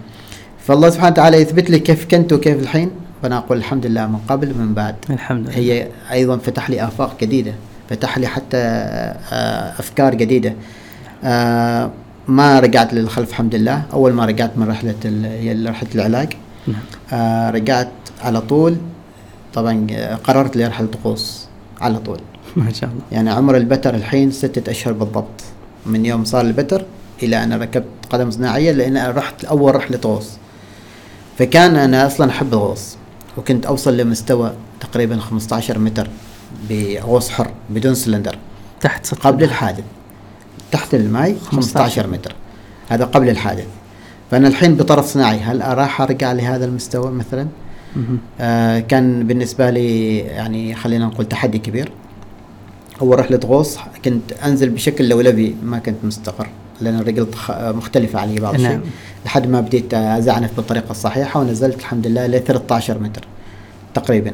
[SPEAKER 2] فالله سبحانه وتعالى يثبت لي كيف كنت وكيف الحين فانا اقول الحمد لله من قبل من بعد
[SPEAKER 1] الحمد لله
[SPEAKER 2] هي ايضا فتح لي افاق جديده فتح لي حتى آه، افكار جديده آه، ما رجعت للخلف الحمد لله اول ما رجعت من رحله ال- هي رحله العلاج
[SPEAKER 1] نعم
[SPEAKER 2] آه، رجعت على طول طبعا آه، قررت لي رحله طقوس على طول
[SPEAKER 1] ما شاء الله
[SPEAKER 2] يعني عمر البتر الحين ستة أشهر بالضبط من يوم صار البتر إلى أنا ركبت قدم صناعية لأن أنا رحت أول رحلة غوص فكان أنا أصلا أحب الغوص وكنت أوصل لمستوى تقريبا 15 متر بغوص حر بدون سلندر
[SPEAKER 1] تحت سطح
[SPEAKER 2] قبل الحادث تحت الماء 15 متر هذا قبل الحادث فأنا الحين بطرف صناعي هل أراح أرجع لهذا المستوى مثلا؟
[SPEAKER 1] مهم.
[SPEAKER 2] آه، كان بالنسبة لي يعني خلينا نقول تحدي كبير أول رحلة غوص كنت أنزل بشكل لولبي ما كنت مستقر لأن الرجل تخ- مختلفة علي بعض
[SPEAKER 1] نعم.
[SPEAKER 2] الشيء لحد ما بديت أزعنف بالطريقة الصحيحة ونزلت الحمد لله ل 13 متر تقريبا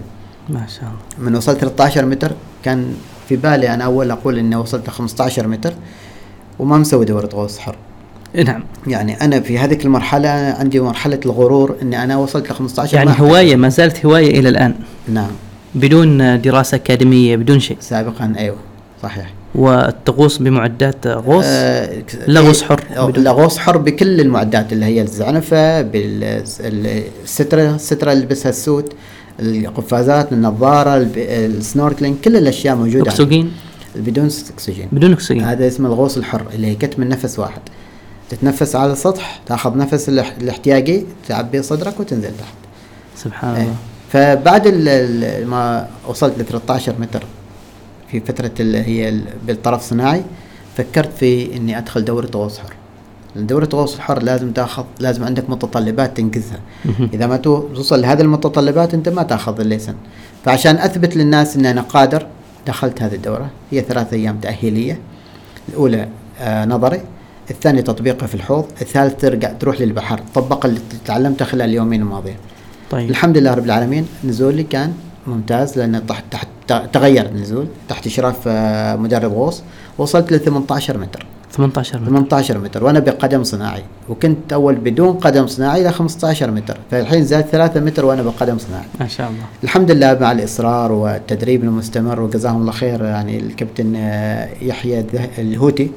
[SPEAKER 1] ما شاء الله
[SPEAKER 2] من وصلت 13 متر كان في بالي أنا أول أقول إني وصلت 15 متر وما مسوي دورة غوص حر
[SPEAKER 1] نعم
[SPEAKER 2] يعني أنا في هذيك المرحلة عندي مرحلة الغرور إني أنا وصلت ل 15
[SPEAKER 1] يعني
[SPEAKER 2] ما أحتاج.
[SPEAKER 1] هواية ما زالت هواية إلى الآن
[SPEAKER 2] نعم
[SPEAKER 1] بدون دراسة أكاديمية بدون شيء
[SPEAKER 2] سابقا ايوه صحيح
[SPEAKER 1] والتغوص بمعدات غوص
[SPEAKER 2] آه،
[SPEAKER 1] لا غوص حر
[SPEAKER 2] أو-
[SPEAKER 1] بدون-
[SPEAKER 2] لا غوص حر بكل المعدات اللي هي الزعنفه بالستره الستره اللي لبسها السوت القفازات النظاره الب- السنوركلينج كل الاشياء موجوده عندك.
[SPEAKER 1] أكسجين
[SPEAKER 2] بدون اكسجين
[SPEAKER 1] بدون أكسجين
[SPEAKER 2] هذا اسمه الغوص الحر اللي هي كتم النفس واحد تتنفس على السطح تاخذ نفس الاح- الاحتياجي تعبي صدرك وتنزل تحت
[SPEAKER 1] سبحان
[SPEAKER 2] إيه.
[SPEAKER 1] الله
[SPEAKER 2] فبعد ال- ال- ما وصلت ل 13 متر في فترة اللي هي ال- بالطرف صناعي فكرت في اني ادخل دورة غوص حر لأن دورة غوص الحر لازم تاخذ لازم عندك متطلبات تنجزها
[SPEAKER 1] مهم.
[SPEAKER 2] اذا ما تو- توصل لهذه المتطلبات انت ما تاخذ الليسن فعشان اثبت للناس ان انا قادر دخلت هذه الدورة هي ثلاث ايام تأهيلية الاولى آه نظري الثاني تطبيقه في الحوض الثالث ترجع تروح للبحر طبق اللي تعلمته خلال اليومين الماضيين
[SPEAKER 1] طيب
[SPEAKER 2] الحمد لله رب العالمين نزولي كان ممتاز لان تحت تحت تغير النزول تحت اشراف آه، مدرب غوص وصلت ل 18 متر
[SPEAKER 1] 18 متر
[SPEAKER 2] 18 متر وانا بقدم صناعي وكنت اول بدون قدم صناعي ل 15 متر فالحين زاد 3 متر وانا بقدم صناعي
[SPEAKER 1] ما شاء الله
[SPEAKER 2] الحمد لله مع الاصرار والتدريب المستمر وجزاهم الله خير يعني الكابتن آه، يحيى الذه- الهوتي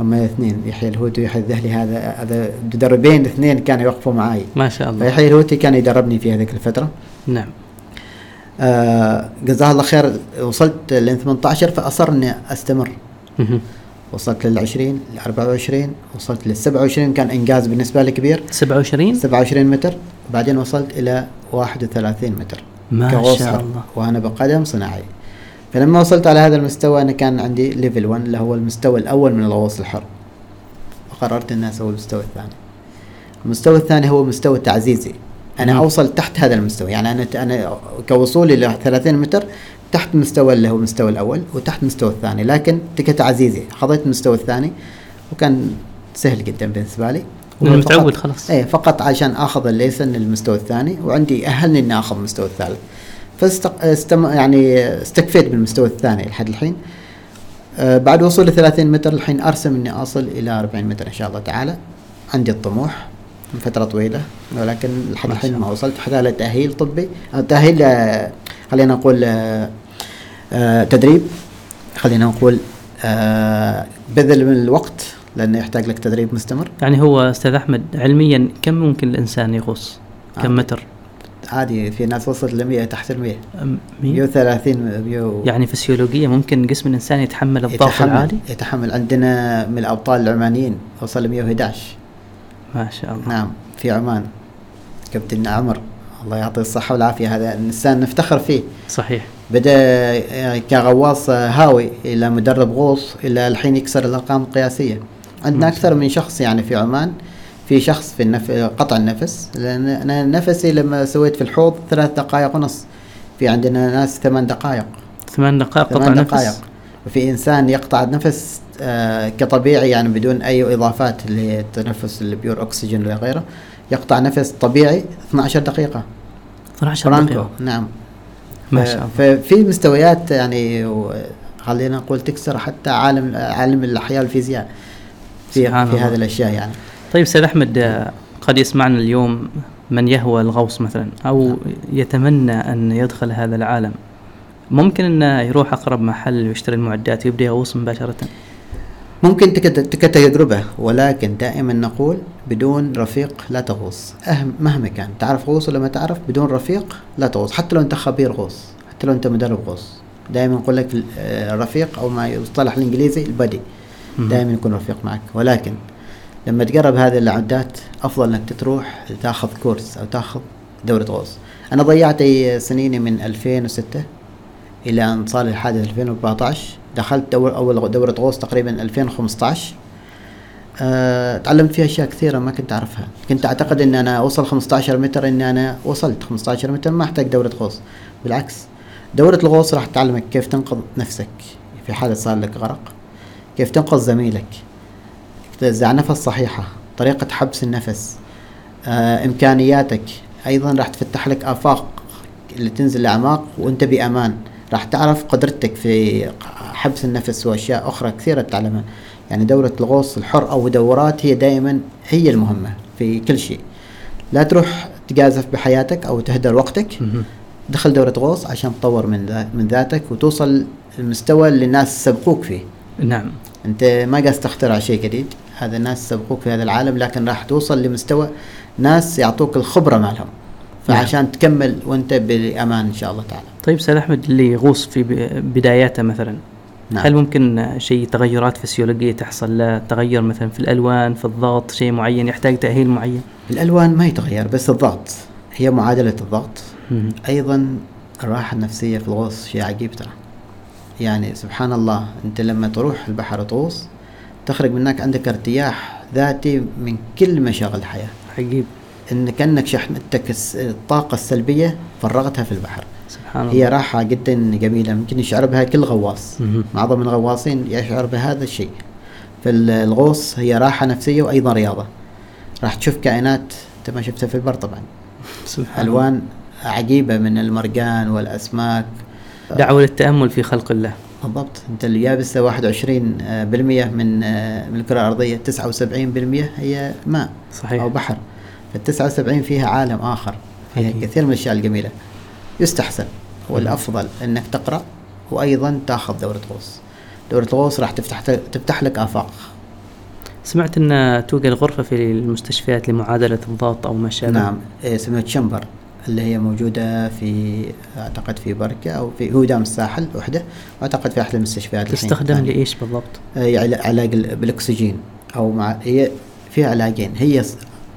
[SPEAKER 2] هم الاثنين يحيى الهوتي ويحيى الذهلي هذا هذا مدربين اثنين كانوا يوقفوا معي
[SPEAKER 1] ما شاء الله
[SPEAKER 2] فيحيى الهوتي كان يدربني في هذيك الفتره
[SPEAKER 1] نعم
[SPEAKER 2] آه، جزاه الله خير وصلت لين 18 فاصر اني استمر
[SPEAKER 1] مهم.
[SPEAKER 2] وصلت لل 20 ل 24 وصلت لل 27 كان انجاز بالنسبه لي كبير
[SPEAKER 1] 27
[SPEAKER 2] 27 متر بعدين وصلت الى 31 متر
[SPEAKER 1] ما
[SPEAKER 2] كغوص
[SPEAKER 1] شاء
[SPEAKER 2] حر،
[SPEAKER 1] الله.
[SPEAKER 2] وانا بقدم صناعي فلما وصلت على هذا المستوى انا كان عندي ليفل 1 اللي هو المستوى الاول من الغوص الحر وقررت اني اسوي المستوى الثاني المستوى الثاني هو مستوى تعزيزي انا
[SPEAKER 1] مم.
[SPEAKER 2] اوصل تحت هذا المستوى يعني انا انا كوصولي ل 30 متر تحت مستوى اللي هو المستوى الاول وتحت المستوى الثاني لكن كتعزيزي خضيت المستوى الثاني وكان سهل جدا بالنسبه لي
[SPEAKER 1] لأنه
[SPEAKER 2] هو فقط-
[SPEAKER 1] متعود خلاص.
[SPEAKER 2] ايه فقط عشان اخذ الليسن المستوى الثاني وعندي اهلني اني اخذ المستوى الثالث فاستق... استم... يعني استكفيت بالمستوى الثاني لحد الحين آه بعد وصولي 30 متر الحين ارسم اني اصل الى 40 متر ان شاء الله تعالى عندي الطموح من فتره طويله ولكن لحد
[SPEAKER 1] ما شاء
[SPEAKER 2] الحين ما وصلت خلال تاهيل طبي آه، تاهيل آه، خلينا نقول آه، آه، تدريب خلينا نقول آه، بذل من الوقت لانه يحتاج لك تدريب مستمر
[SPEAKER 1] يعني هو استاذ احمد علميا كم ممكن الانسان يغوص؟
[SPEAKER 2] آه.
[SPEAKER 1] كم متر؟
[SPEAKER 2] عادي في ناس وصلت ل 100 تحت ال 100
[SPEAKER 1] أم- مين؟
[SPEAKER 2] 130 100
[SPEAKER 1] يعني فسيولوجيا ممكن جسم الانسان يتحمل الضغط
[SPEAKER 2] يتحمل-
[SPEAKER 1] العالي؟
[SPEAKER 2] يتحمل عندنا من الابطال العمانيين وصل ل 111
[SPEAKER 1] ما شاء الله
[SPEAKER 2] نعم في عمان نعم، كابتن عمر الله يعطيه الصحة والعافية هذا إنسان نفتخر فيه
[SPEAKER 1] صحيح
[SPEAKER 2] بدا كغواص آه، هاوي الى مدرب غوص الى الحين يكسر الارقام القياسيه عندنا اكثر من شخص يعني في عمان في شخص في النف... قطع النفس لان انا نفسي لما سويت في الحوض ثلاث دقائق ونص في عندنا ناس ثمان دقائق
[SPEAKER 1] ثمان دقائق قطع
[SPEAKER 2] ثمان دقائق
[SPEAKER 1] نفس
[SPEAKER 2] وفي انسان يقطع نفس آه كطبيعي يعني بدون اي اضافات للتنفس البيور اكسجين ولا غيره يقطع نفس طبيعي 12 دقيقه
[SPEAKER 1] 12
[SPEAKER 2] فرانكو
[SPEAKER 1] دقيقة
[SPEAKER 2] نعم
[SPEAKER 1] ما شاء الله
[SPEAKER 2] ففي مستويات يعني و- خلينا نقول تكسر حتى عالم عالم الاحياء والفيزياء في
[SPEAKER 1] سبحان
[SPEAKER 2] في
[SPEAKER 1] الله.
[SPEAKER 2] هذه الاشياء يعني
[SPEAKER 1] طيب استاذ احمد آه، قد يسمعنا اليوم من يهوى الغوص مثلا او يتمنى ان يدخل هذا العالم ممكن انه يروح اقرب محل ويشتري المعدات ويبدا يغوص مباشره
[SPEAKER 2] ممكن تك- كتجربه ولكن دائما نقول بدون رفيق لا تغوص أهم مهما كان تعرف غوص ولا ما تعرف بدون رفيق لا تغوص حتى لو انت خبير غوص حتى لو انت مدرب غوص دائما نقول لك آه، رفيق او ما يصطلح الانجليزي البادي
[SPEAKER 1] مهم.
[SPEAKER 2] دائما يكون رفيق معك ولكن لما تقرب هذه العدات افضل انك تروح تاخذ كورس او تاخذ دوره غوص انا ضيعت سنيني من 2006 الى ان صار الحادث 2014 دخلت دور اول دوره غوص تقريبا 2015 آه، تعلمت فيها اشياء كثيره ما كنت اعرفها كنت اعتقد ان انا اوصل 15 متر ان انا وصلت 15 متر ما احتاج دوره غوص بالعكس دوره الغوص راح تعلمك كيف تنقذ نفسك في حاله صار لك غرق كيف تنقذ زميلك تزع نفس صحيحه طريقه حبس النفس آه، امكانياتك ايضا راح تفتح لك افاق اللي تنزل الاعماق وانت بامان راح تعرف قدرتك في حبس النفس واشياء اخرى كثيره تتعلمها يعني دوره الغوص الحر او دورات هي دائما هي المهمه في كل شيء لا تروح تجازف بحياتك او تهدر وقتك
[SPEAKER 1] مهم.
[SPEAKER 2] دخل دورة غوص عشان تطور من ذا- من ذاتك وتوصل المستوى اللي الناس سبقوك فيه
[SPEAKER 1] نعم
[SPEAKER 2] انت ما قاعد تخترع شيء جديد هذا الناس سبقوك في هذا العالم لكن راح توصل لمستوى ناس يعطوك الخبره مالهم فعشان تكمل وانت بامان ان شاء الله تعالى
[SPEAKER 1] طيب استاذ احمد اللي يغوص في ب- بداياته مثلا
[SPEAKER 2] نعم.
[SPEAKER 1] هل ممكن شيء تغيرات فسيولوجيه تحصل له تغير مثلا في الالوان في الضغط شيء معين يحتاج تاهيل معين
[SPEAKER 2] الالوان ما يتغير بس الضغط هي معادله الضغط
[SPEAKER 1] مهم.
[SPEAKER 2] ايضا الراحه النفسيه في الغوص شيء عجيب ترى يعني سبحان الله انت لما تروح البحر وتغوص تخرج منك عندك ارتياح ذاتي من كل مشاغل الحياه
[SPEAKER 1] عجيب
[SPEAKER 2] ان كانك شحنتك الس- الطاقه السلبيه فرغتها في البحر
[SPEAKER 1] سبحان
[SPEAKER 2] هي
[SPEAKER 1] الله
[SPEAKER 2] راحة جدا جميلة ممكن يشعر بها كل غواص
[SPEAKER 1] مهم.
[SPEAKER 2] معظم الغواصين يشعر بهذا الشيء فالغوص هي راحة نفسية وأيضا رياضة راح تشوف كائنات أنت ما شفتها في البر طبعا
[SPEAKER 1] سبحان الله
[SPEAKER 2] ألوان عجيبة من المرجان والأسماك
[SPEAKER 1] دعوه للتامل في خلق الله
[SPEAKER 2] بالضبط أنت اليابسة 21 آه، بالمية من آه، من الكرة الأرضية 79 بالمية هي ماء
[SPEAKER 1] صحيح.
[SPEAKER 2] أو بحر فال 79 فيها عالم آخر فيها
[SPEAKER 1] أكيد.
[SPEAKER 2] كثير من الأشياء الجميلة يستحسن والأفضل أنك تقرأ وأيضا تاخذ دورة غوص دورة الغوص راح تفتح تفتح لك آفاق
[SPEAKER 1] سمعت ان توجد غرفه في المستشفيات لمعادله الضغط او ما شابه
[SPEAKER 2] نعم إيه، اسمها تشمبر اللي هي موجودة في أعتقد في بركة أو في هو دام الساحل وحدة وأعتقد في أحد المستشفيات الحين نعم.
[SPEAKER 1] تستخدم
[SPEAKER 2] الثانية.
[SPEAKER 1] لايش بالضبط؟
[SPEAKER 2] هي علا- آه، يعني علاج ال- بالاكسجين او مع هي في علاجين هي ص-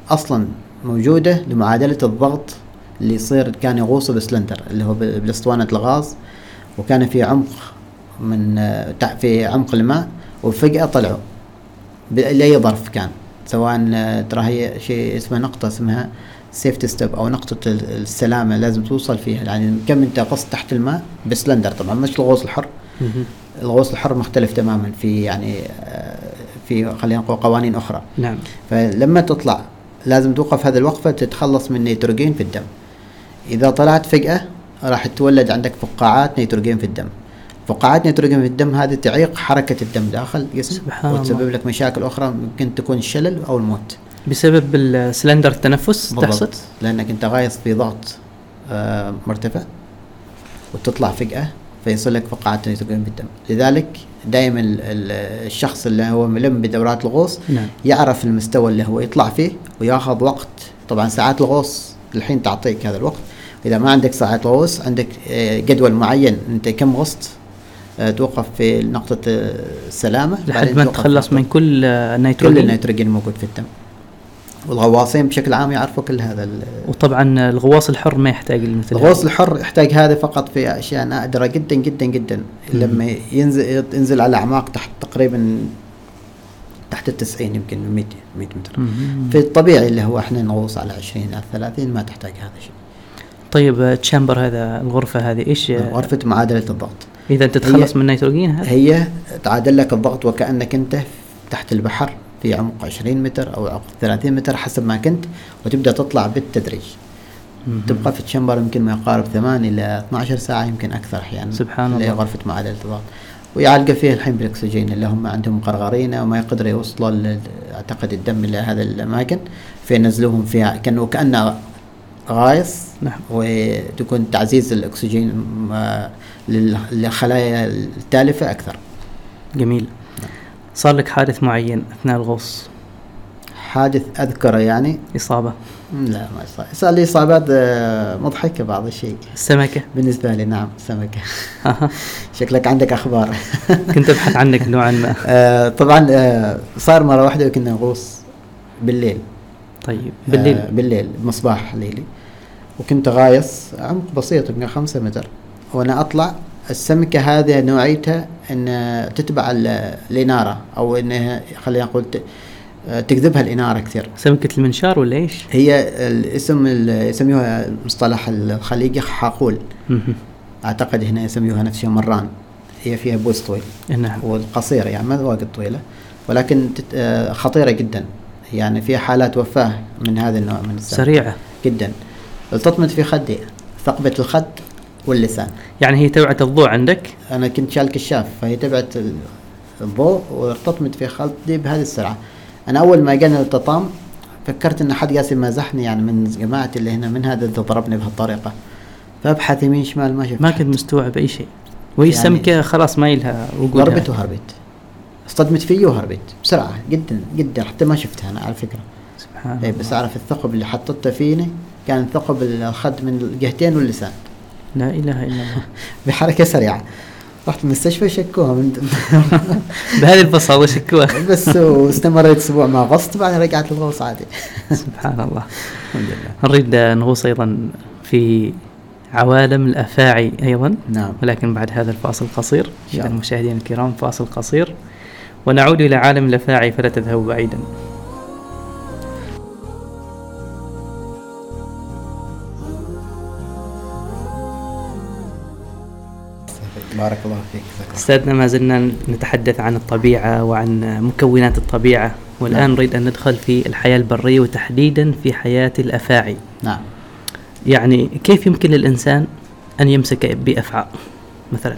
[SPEAKER 2] اصلا موجوده لمعادله الضغط اللي يصير كان يغوصوا بالسلندر اللي هو بال- بالاسطوانه الغاز وكان في عمق من آه، تع- في عمق الماء وفجاه طلعوا لاي ظرف كان سواء آه، ترى هي شيء اسمه نقطه اسمها سيفتي ستيب او نقطه ال- السلامه لازم توصل فيها يعني كم انت غصت تحت الماء بسلندر طبعا مش الغوص الحر
[SPEAKER 1] مهم.
[SPEAKER 2] الغوص الحر مختلف تماما في يعني آه، في خلينا نقول قوانين اخرى
[SPEAKER 1] نعم
[SPEAKER 2] فلما تطلع لازم توقف هذه الوقفه تتخلص من نيتروجين في الدم اذا طلعت فجاه راح تتولد عندك فقاعات نيتروجين في الدم فقاعات نيتروجين في الدم هذه تعيق حركه الدم داخل الجسم
[SPEAKER 1] سبحان الله.
[SPEAKER 2] وتسبب لك مشاكل اخرى ممكن تكون الشلل او الموت
[SPEAKER 1] بسبب السلندر التنفس تحصل؟
[SPEAKER 2] بالضبط لانك انت غايص في ضغط آه، مرتفع وتطلع فجاه فيصل لك فقاعات نيتروجين بالدم لذلك دائما ال- ال- الشخص اللي هو ملم بدورات الغوص
[SPEAKER 1] نعم
[SPEAKER 2] يعرف المستوى اللي هو يطلع فيه وياخذ وقت طبعا ساعات الغوص الحين تعطيك هذا الوقت اذا ما عندك ساعات غوص عندك آه، جدول معين انت كم غصت آه، توقف في نقطه آه، السلامه
[SPEAKER 1] لحد
[SPEAKER 2] بعدين
[SPEAKER 1] ما
[SPEAKER 2] توقف في
[SPEAKER 1] تتخلص
[SPEAKER 2] نقطة-
[SPEAKER 1] من كل آه،
[SPEAKER 2] كل
[SPEAKER 1] نيتروجين
[SPEAKER 2] النيتروجين الموجود في الدم والغواصين بشكل عام يعرفوا كل هذا ال-
[SPEAKER 1] وطبعا الغواص الحر ما يحتاج لمثل
[SPEAKER 2] الغوص الحر يحتاج هذا فقط في اشياء نادره جدا جدا جدا لما ينزل ينزل على اعماق تحت تقريبا تحت ال 90 يمكن 100 100 متر
[SPEAKER 1] مهم.
[SPEAKER 2] في الطبيعي اللي هو احنا نغوص على 20 على 30 ما تحتاج هذا الشيء
[SPEAKER 1] طيب آه، تشامبر هذا الغرفه هذه ايش آه،
[SPEAKER 2] غرفه معادله الضغط
[SPEAKER 1] اذا انت تتخلص من النيتروجين هذا
[SPEAKER 2] هي تعادل لك الضغط وكانك انت تحت البحر في عمق 20 متر او عمق 30 متر حسب ما كنت وتبدا تطلع بالتدريج
[SPEAKER 1] مهم.
[SPEAKER 2] تبقى في الشمبر يمكن ما يقارب 8 الى 12 ساعه يمكن اكثر احيانا
[SPEAKER 1] سبحان
[SPEAKER 2] اللي هي
[SPEAKER 1] الله.
[SPEAKER 2] غرفه معادله الضغط ويعالجوا فيها الحين بالاكسجين اللي هم عندهم قرغرينه وما يقدروا يوصلوا ل- اعتقد الدم الى هذه الاماكن فينزلوهم فيها كانه كانه غايص
[SPEAKER 1] نعم.
[SPEAKER 2] وتكون تعزيز الاكسجين م- لل- للخلايا التالفه اكثر
[SPEAKER 1] جميل صار لك حادث معين اثناء الغوص
[SPEAKER 2] حادث اذكره يعني
[SPEAKER 1] اصابه
[SPEAKER 2] لا ما صار صار لي اصابات آه، مضحكه بعض الشيء
[SPEAKER 1] السمكه
[SPEAKER 2] بالنسبه لي نعم سمكه شكلك عندك اخبار
[SPEAKER 1] كنت ابحث عنك نوعا ما
[SPEAKER 2] آه، طبعا آه، صار مره واحده كنا نغوص بالليل
[SPEAKER 1] طيب
[SPEAKER 2] آه،
[SPEAKER 1] بالليل
[SPEAKER 2] بالليل مصباح ليلي وكنت غايص عمق بسيط يمكن خمسة متر وانا اطلع السمكه هذه نوعيتها ان تتبع ال- الاناره او انها خلينا نقول ت- آه، تجذبها الاناره كثير
[SPEAKER 1] سمكه المنشار ولا ايش؟
[SPEAKER 2] هي الاسم ال- يسميوها المصطلح الخليجي حاقول
[SPEAKER 1] مهم.
[SPEAKER 2] اعتقد هنا يسميوها نفسها مران هي فيها بوز طويل
[SPEAKER 1] نعم
[SPEAKER 2] والقصيرة يعني ما واجد طويلة ولكن تت- آه، خطيرة جدا يعني في حالات وفاة من هذا النوع من السمك
[SPEAKER 1] سريعه
[SPEAKER 2] جدا التطمت في خدي ثقبة الخد واللسان
[SPEAKER 1] يعني هي توعه الضوء عندك
[SPEAKER 2] أنا كنت شال كشاف فهي تبعت ال- الضوء وارتطمت في خدي بهذه السرعة أنا أول ما جاني التطام فكرت إن حد قاسي مازحني يعني من جماعتي اللي هنا من هذا اللي ضربني بهالطريقة فأبحث يمين شمال ما شفت
[SPEAKER 1] ما كنت مستوعب اي شيء وهي
[SPEAKER 2] يعني-
[SPEAKER 1] السمكه خلاص ما لها وجودها
[SPEAKER 2] ضربت وهربت اصطدمت فيه وهربت بسرعة جدا جدا حتى ما شفتها أنا على فكرة
[SPEAKER 1] سبحان
[SPEAKER 2] اي
[SPEAKER 1] الله
[SPEAKER 2] بس اعرف الثقب اللي حطته فيني كان ثقب الخد من الجهتين واللسان
[SPEAKER 1] لا اله الا الله
[SPEAKER 2] بحركه سريعه رحت المستشفى شكوها من
[SPEAKER 1] بهذه البساطه شكوها
[SPEAKER 2] بس واستمريت اسبوع ما غصت بعدين رجعت للغوص عادي
[SPEAKER 1] سبحان الله
[SPEAKER 2] الحمد لله
[SPEAKER 1] نريد نغوص ايضا في عوالم الافاعي ايضا
[SPEAKER 2] نعم
[SPEAKER 1] ولكن بعد هذا الفاصل القصير
[SPEAKER 2] شاء
[SPEAKER 1] إذا
[SPEAKER 2] الله.
[SPEAKER 1] المشاهدين الكرام فاصل قصير ونعود إلى عالم الأفاعي فلا تذهبوا بعيدا
[SPEAKER 2] بارك الله فيك جزاك الله
[SPEAKER 1] أستاذنا ما زلنا نتحدث عن الطبيعة وعن مكونات الطبيعة والآن
[SPEAKER 2] نعم.
[SPEAKER 1] نريد أن ندخل في الحياة البرية وتحديدا في حياة الأفاعي
[SPEAKER 2] خير. نعم
[SPEAKER 1] يعني كيف يمكن للإنسان أن يمسك بأفعى مثلا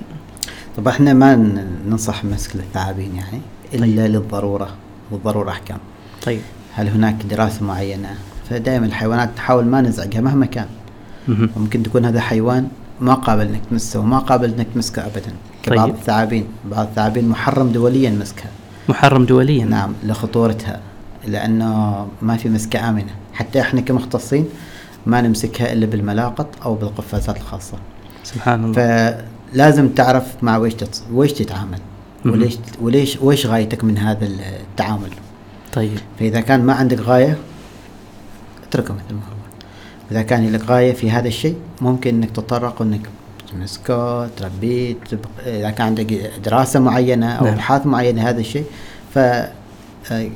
[SPEAKER 2] طب احنا ما ن- ننصح مسك للثعابين يعني الا للضروره والضروره احكام
[SPEAKER 1] طيب
[SPEAKER 2] هل هناك دراسه معينه فدائما الحيوانات نحاول ما نزعجها مهما كان
[SPEAKER 1] مهم.
[SPEAKER 2] ممكن تكون هذا حيوان ما قابل انك تمسه وما قابل انك تمسكه ابدا كبعض
[SPEAKER 1] طيب.
[SPEAKER 2] الثعابين بعض الثعابين محرم دوليا مسكها
[SPEAKER 1] محرم دوليا
[SPEAKER 2] نعم لخطورتها لانه ما في مسكه امنه حتى احنا كمختصين ما نمسكها الا بالملاقط او بالقفازات الخاصه
[SPEAKER 1] سبحان الله
[SPEAKER 2] فلازم تعرف مع ويش تتص... ويش تتعامل
[SPEAKER 1] مهم.
[SPEAKER 2] وليش وليش ويش غايتك من هذا التعامل
[SPEAKER 1] طيب
[SPEAKER 2] فاذا كان ما عندك غايه اتركه مثل ما هو اذا كان لك غايه في هذا الشيء ممكن انك تتطرق انك تمسكه تربيه تبق- اذا كان عندك دراسه معينه او
[SPEAKER 1] نعم.
[SPEAKER 2] ابحاث معينه هذا الشيء ف آه،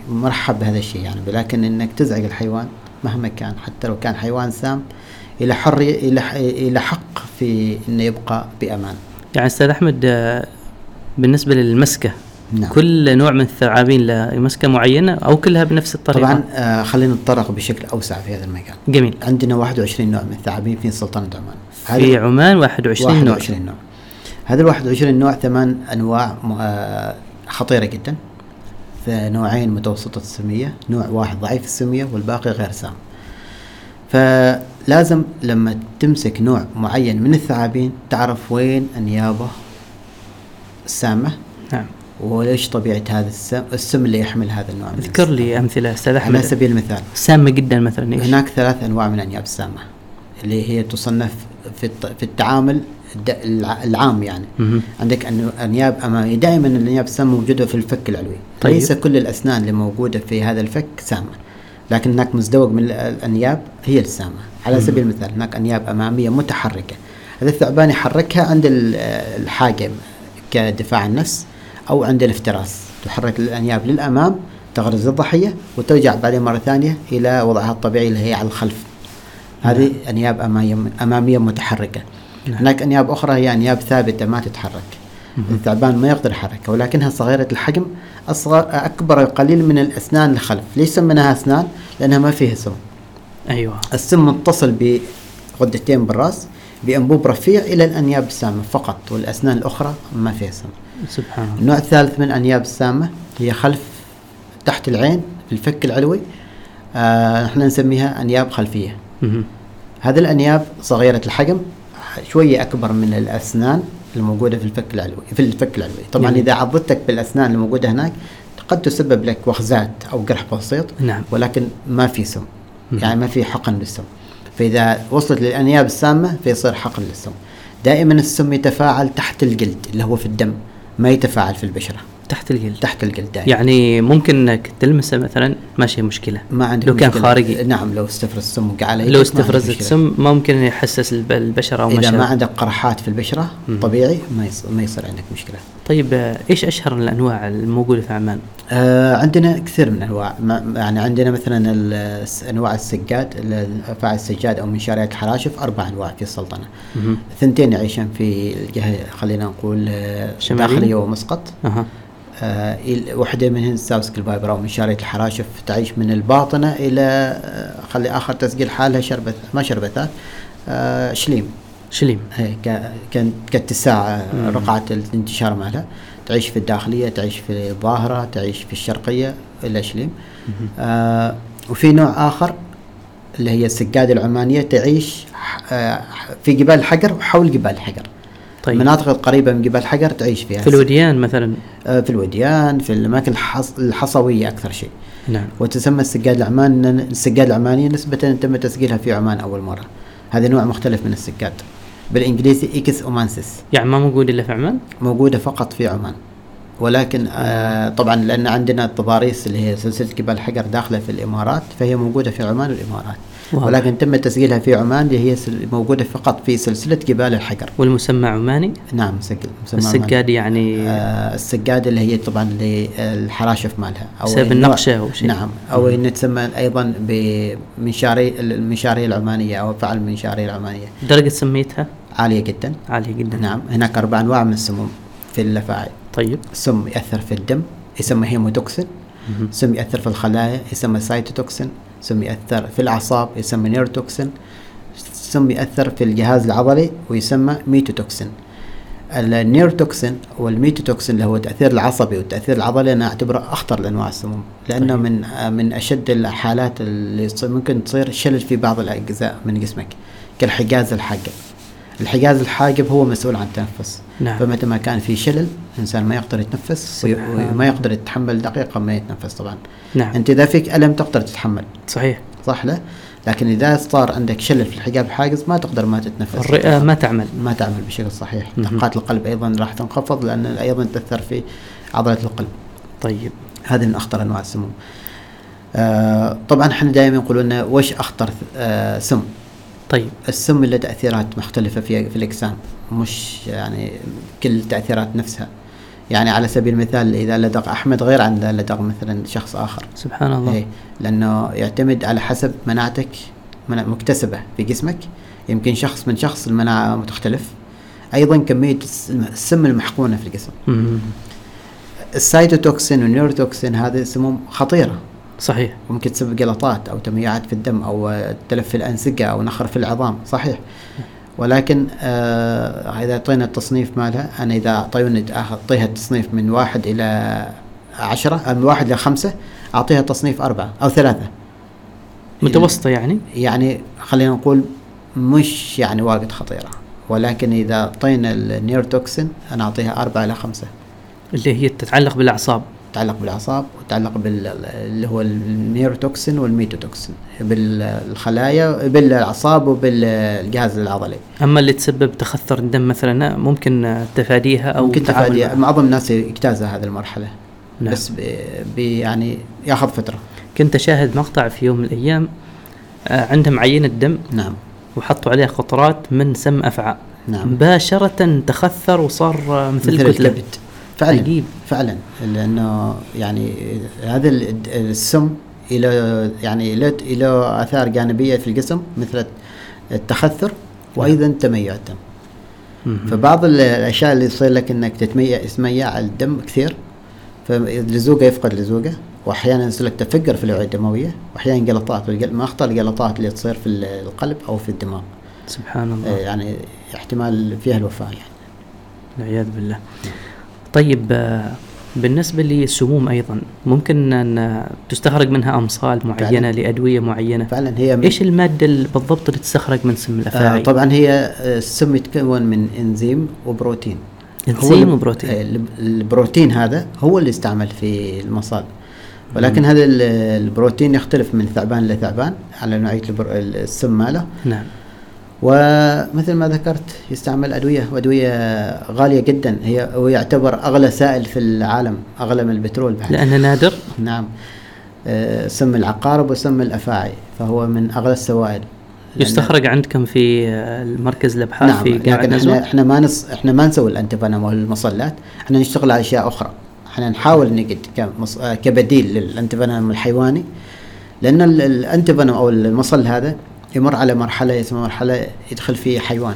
[SPEAKER 2] مرحب بهذا الشيء يعني ولكن انك تزعج الحيوان مهما كان حتى لو كان حيوان سام الى حر الى ح- الى حق في انه يبقى بامان
[SPEAKER 1] يعني أستاذ أحمد آه، بالنسبة للمسكة
[SPEAKER 2] نعم.
[SPEAKER 1] كل نوع من الثعابين له مسكه معينه او كلها بنفس الطريقه
[SPEAKER 2] طبعا آه خلينا نتطرق بشكل اوسع في هذا المجال
[SPEAKER 1] جميل
[SPEAKER 2] عندنا 21 نوع من الثعابين في سلطنه عمان
[SPEAKER 1] في عمان 21 نوع
[SPEAKER 2] 21 نوع هذا ال 21 نوع ثمان انواع م- آه، خطيره جدا ف- نوعين متوسطة السمية نوع واحد ضعيف السمية والباقي غير سام فلازم لما تمسك نوع معين من الثعابين تعرف وين أنيابه السامة
[SPEAKER 1] نعم
[SPEAKER 2] وليش طبيعة هذا السم, السم اللي يحمل هذا النوع من
[SPEAKER 1] اذكر لي امثله استاذ
[SPEAKER 2] السم. على
[SPEAKER 1] احمد
[SPEAKER 2] سبيل المثال
[SPEAKER 1] سامه جدا مثلا ايش؟
[SPEAKER 2] هناك ثلاث انواع من الانياب السامه اللي هي تصنف في الت- في التعامل الد- الع- العام يعني
[SPEAKER 1] مهم.
[SPEAKER 2] عندك أن- انياب اماميه دائما الانياب السامه موجوده في الفك العلوي
[SPEAKER 1] طيب.
[SPEAKER 2] ليس كل الاسنان اللي موجوده في هذا الفك سامه لكن هناك مزدوج من ال- الانياب هي السامه على سبيل المثال هناك انياب اماميه متحركه هذا الثعبان يحركها عند ال- الحاجم كدفاع عن النفس او عند الافتراس تحرك الانياب للامام تغرز الضحيه وترجع بعدين مره ثانيه الى وضعها الطبيعي اللي هي على الخلف هذه انياب أمامية- اماميه متحركه
[SPEAKER 1] نعم.
[SPEAKER 2] هناك انياب اخرى هي انياب ثابته ما تتحرك الثعبان ما يقدر يحركها ولكنها صغيره الحجم اصغر اكبر قليل من الاسنان الخلف ليش سميناها اسنان لانها ما فيها سم
[SPEAKER 1] ايوه
[SPEAKER 2] السم متصل بغدتين بالراس بانبوب رفيع الى الانياب السامه فقط والاسنان الاخرى ما فيها سم
[SPEAKER 1] سبحان الله
[SPEAKER 2] النوع الثالث من الانياب السامه هي خلف تحت العين في الفك العلوي آه، احنا نسميها انياب خلفيه
[SPEAKER 1] مهم.
[SPEAKER 2] هذه الانياب صغيره الحجم شويه اكبر من الاسنان الموجوده في الفك العلوي في الفك العلوي طبعا
[SPEAKER 1] نعم.
[SPEAKER 2] اذا عضتك بالاسنان الموجوده هناك قد تسبب لك وخزات او جرح بسيط
[SPEAKER 1] نعم
[SPEAKER 2] ولكن ما في سم
[SPEAKER 1] مم.
[SPEAKER 2] يعني ما في حقن للسم فاذا وصلت للانياب السامه فيصير حقن للسم دائما السم يتفاعل تحت الجلد اللي هو في الدم ما يتفاعل في البشره
[SPEAKER 1] تحت الجلد
[SPEAKER 2] تحت الجلد دائما
[SPEAKER 1] يعني ممكن انك تلمسه مثلا ماشي مشكله
[SPEAKER 2] ما عندك
[SPEAKER 1] لو كان
[SPEAKER 2] مشكلة.
[SPEAKER 1] خارجي.
[SPEAKER 2] نعم لو استفرز السم وقع عليك ما
[SPEAKER 1] لو
[SPEAKER 2] عندك
[SPEAKER 1] استفرزت
[SPEAKER 2] مشكلة.
[SPEAKER 1] سم ممكن يحسس الب- البشره او
[SPEAKER 2] اذا ما
[SPEAKER 1] مشى
[SPEAKER 2] عندك قرحات في البشره
[SPEAKER 1] مم.
[SPEAKER 2] طبيعي ما يص- ما يصير عندك مشكله
[SPEAKER 1] طيب آه، ايش اشهر الانواع الموجوده في عمان؟
[SPEAKER 2] آه عندنا كثير من انواع ما- يعني عندنا مثلا ال- الس- انواع السجاد ال- الافاعي السجاد او منشاريات الحراشف اربع انواع في السلطنه
[SPEAKER 1] مهم.
[SPEAKER 2] ثنتين يعيشن في الجهه خلينا نقول آه،
[SPEAKER 1] شمالية؟ نعم.
[SPEAKER 2] داخليه ومسقط
[SPEAKER 1] اها
[SPEAKER 2] آه ال- واحده منهن ساوسك البايبر او منشارية الحراشف تعيش من الباطنه الى آه، خلي اخر تسجيل حالها شربت ما شربتات آه شليم
[SPEAKER 1] شليم
[SPEAKER 2] هي ك- كان كاتساع رقعة الانتشار مالها تعيش في الداخلية تعيش في الظاهرة تعيش في الشرقية إلى شليم آه وفي نوع آخر اللي هي السجادة العمانية تعيش ح- آه في جبال الحجر وحول جبال الحجر
[SPEAKER 1] طيب
[SPEAKER 2] المناطق القريبة من جبال الحجر تعيش فيها
[SPEAKER 1] في الوديان مثلا
[SPEAKER 2] آه في الوديان في الأماكن الحص الحصوية أكثر شيء
[SPEAKER 1] نعم
[SPEAKER 2] وتسمى السجاد العمان السجاد العمانية نسبة تم تسجيلها في عمان أول مرة هذا نوع مختلف من السجاد بالإنجليزي إكس أومانسيس
[SPEAKER 1] يعني ما موجود الا في عمان؟
[SPEAKER 2] موجودة فقط في عمان ولكن آه طبعا لأن عندنا الطباريس اللي هي سلسلة جبال الحجر داخلة في الإمارات فهي موجودة في عمان والإمارات
[SPEAKER 1] واضح.
[SPEAKER 2] ولكن تم تسجيلها في عمان اللي هي سل- موجودة فقط في سلسلة جبال الحجر
[SPEAKER 1] والمسمى عماني؟
[SPEAKER 2] نعم سجل مسمى عمان.
[SPEAKER 1] السجاد يعني
[SPEAKER 2] آه السجادة اللي هي طبعا للحراشف مالها
[SPEAKER 1] بسبب
[SPEAKER 2] النوع-
[SPEAKER 1] النقشة أو شيء.
[SPEAKER 2] نعم أو إن تسمى أيضا بمنشاري المنشارية العمانية أو فعل المنشارية العمانية
[SPEAKER 1] درجه سميتها
[SPEAKER 2] عالية جدا
[SPEAKER 1] عاليه جدا
[SPEAKER 2] نعم هناك أربع أنواع من السموم في اللفاعي
[SPEAKER 1] طيب
[SPEAKER 2] سم يأثر في الدم يسمى هيموتوكسين
[SPEAKER 1] مهم.
[SPEAKER 2] سم يأثر في الخلايا يسمى سايتوتوكسين سم يأثر في الأعصاب يسمى نيروتوكسين سم يأثر في الجهاز العضلي ويسمى ميتوتوكسين النيروتوكسين والميتوتوكسين اللي هو التأثير العصبي والتأثير العضلي أنا أعتبره أخطر لأنواع السموم لأنه
[SPEAKER 1] طيب.
[SPEAKER 2] من من أشد الحالات اللي تص- ممكن تصير شلل في بعض الأجزاء من جسمك كالحجاز الحاجب الحجاز الحاجب هو مسؤول عن التنفس
[SPEAKER 1] نعم.
[SPEAKER 2] فمتى ما كان في شلل الإنسان ما يقدر يتنفس وي-
[SPEAKER 1] سبحان
[SPEAKER 2] وما يقدر يتحمل دقيقة ما يتنفس طبعا
[SPEAKER 1] نعم
[SPEAKER 2] انت اذا فيك الم تقدر تتحمل
[SPEAKER 1] صحيح
[SPEAKER 2] صح لا لكن اذا صار عندك شلل في الحجاب الحاجز ما تقدر ما تتنفس
[SPEAKER 1] الرئه ما تعمل
[SPEAKER 2] ما تعمل بشكل صحيح
[SPEAKER 1] مهم.
[SPEAKER 2] دقات القلب ايضا راح تنخفض لان ايضا تاثر في عضله القلب
[SPEAKER 1] طيب
[SPEAKER 2] هذه من اخطر انواع السموم آه طبعا احنا دائما يقولوا لنا وش اخطر آه سم
[SPEAKER 1] طيب
[SPEAKER 2] السم له تاثيرات مختلفه في في الاجسام مش يعني كل التاثيرات نفسها يعني على سبيل المثال اذا لدغ احمد غير عن اذا لدغ مثلا شخص اخر
[SPEAKER 1] سبحان الله
[SPEAKER 2] إيه لانه يعتمد على حسب مناعتك مناعة مكتسبه في جسمك يمكن شخص من شخص المناعه متختلف ايضا كميه الس- السم المحقونه في الجسم
[SPEAKER 1] مهم.
[SPEAKER 2] السايتوتوكسين والنيوروتوكسين هذه سموم خطيره
[SPEAKER 1] صحيح
[SPEAKER 2] ممكن تسبب جلطات او تميعات في الدم او آه، تلف في الانسجه او نخر في العظام صحيح ولكن آه اذا اعطينا التصنيف مالها انا اذا اعطيوني اعطيها التصنيف من واحد الى عشرة آه، من واحد لخمسة اعطيها تصنيف اربعة او ثلاثة إيه.
[SPEAKER 1] متوسطه يعني
[SPEAKER 2] يعني خلينا نقول مش يعني واجد خطيرة ولكن إذا أعطينا النيروتوكسين أنا أعطيها أربعة إلى خمسة
[SPEAKER 1] اللي هي تتعلق بالاعصاب
[SPEAKER 2] تتعلق بالأعصاب وتتعلق بال اللي هو النيروتوكسين والميتوتوكسين بالخلايا بالأعصاب وبالجهاز العضلي
[SPEAKER 1] اما اللي تسبب تخثر الدم مثلا ممكن تفاديها او
[SPEAKER 2] ممكن
[SPEAKER 1] التعامل
[SPEAKER 2] تفادي
[SPEAKER 1] معها.
[SPEAKER 2] معظم الناس يجتازها هذه المرحلة
[SPEAKER 1] نعم.
[SPEAKER 2] بس ب... ب... يعني ياخذ فتره
[SPEAKER 1] كنت أشاهد مقطع في يوم من الأيام آه، عندهم عينة دم
[SPEAKER 2] نعم
[SPEAKER 1] وحطوا عليها قطرات من سم أفعى
[SPEAKER 2] نعم
[SPEAKER 1] مباشرة تخثر وصار آه، مثل,
[SPEAKER 2] مثل
[SPEAKER 1] الكتلة
[SPEAKER 2] الكبد فعلا
[SPEAKER 1] عجيب.
[SPEAKER 2] فعلا لانه يعني هذا ال- السم له يعني له له اثار جانبيه في الجسم مثل التخثر وايضا تميع الدم
[SPEAKER 1] نعم. مهم.
[SPEAKER 2] فبعض ال- الاشياء اللي تصير لك انك تتميع تتميع الدم كثير فاللزوقه يفقد لزوقه واحيانا يصير لك تفجر في الاوعيه الدمويه واحيانا جلطات بالقلب من اخطر الجلطات اللي تصير في ال- القلب او في الدماغ
[SPEAKER 1] سبحان
[SPEAKER 2] آه،
[SPEAKER 1] الله
[SPEAKER 2] يعني احتمال فيها الوفاه يعني
[SPEAKER 1] والعياذ بالله طيب آه، بالنسبة للسموم أيضا ممكن أن آه، تستخرج منها أمصال معينة
[SPEAKER 2] فعلاً.
[SPEAKER 1] لأدوية معينة
[SPEAKER 2] فعلا هي من-
[SPEAKER 1] إيش المادة ال- بالضبط اللي تستخرج من سم
[SPEAKER 2] آه
[SPEAKER 1] الأفاعي؟
[SPEAKER 2] طبعا هي آه، السم يتكون من انزيم وبروتين هو
[SPEAKER 1] إنزيم
[SPEAKER 2] اللي-
[SPEAKER 1] وبروتين
[SPEAKER 2] آه، الب- البروتين هذا هو اللي يستعمل في المصال ولكن هذا ال- البروتين يختلف من ثعبان لثعبان على نوعيه البر- السم ماله
[SPEAKER 1] نعم
[SPEAKER 2] ومثل ما ذكرت يستعمل ادويه وادويه غاليه جدا هي هو يعتبر اغلى سائل في العالم اغلى من البترول بعد
[SPEAKER 1] لأنه نادر
[SPEAKER 2] نعم آه، سم العقارب وسم الافاعي فهو من اغلى السوائل لأن-
[SPEAKER 1] يستخرج عندكم في آه، المركز الأبحاث
[SPEAKER 2] نعم
[SPEAKER 1] في جامعة
[SPEAKER 2] لكن
[SPEAKER 1] نزوة؟
[SPEAKER 2] احنا احنا ما نص احنا ما نسوي الانتفانم والمصلات احنا نشتغل على اشياء اخرى احنا نحاول نجد كمص... آه، كبديل للانتفانم الحيواني لان ال- الانتفانم او المصل هذا يمر على مرحله اسمها مرحله يدخل فيه حيوان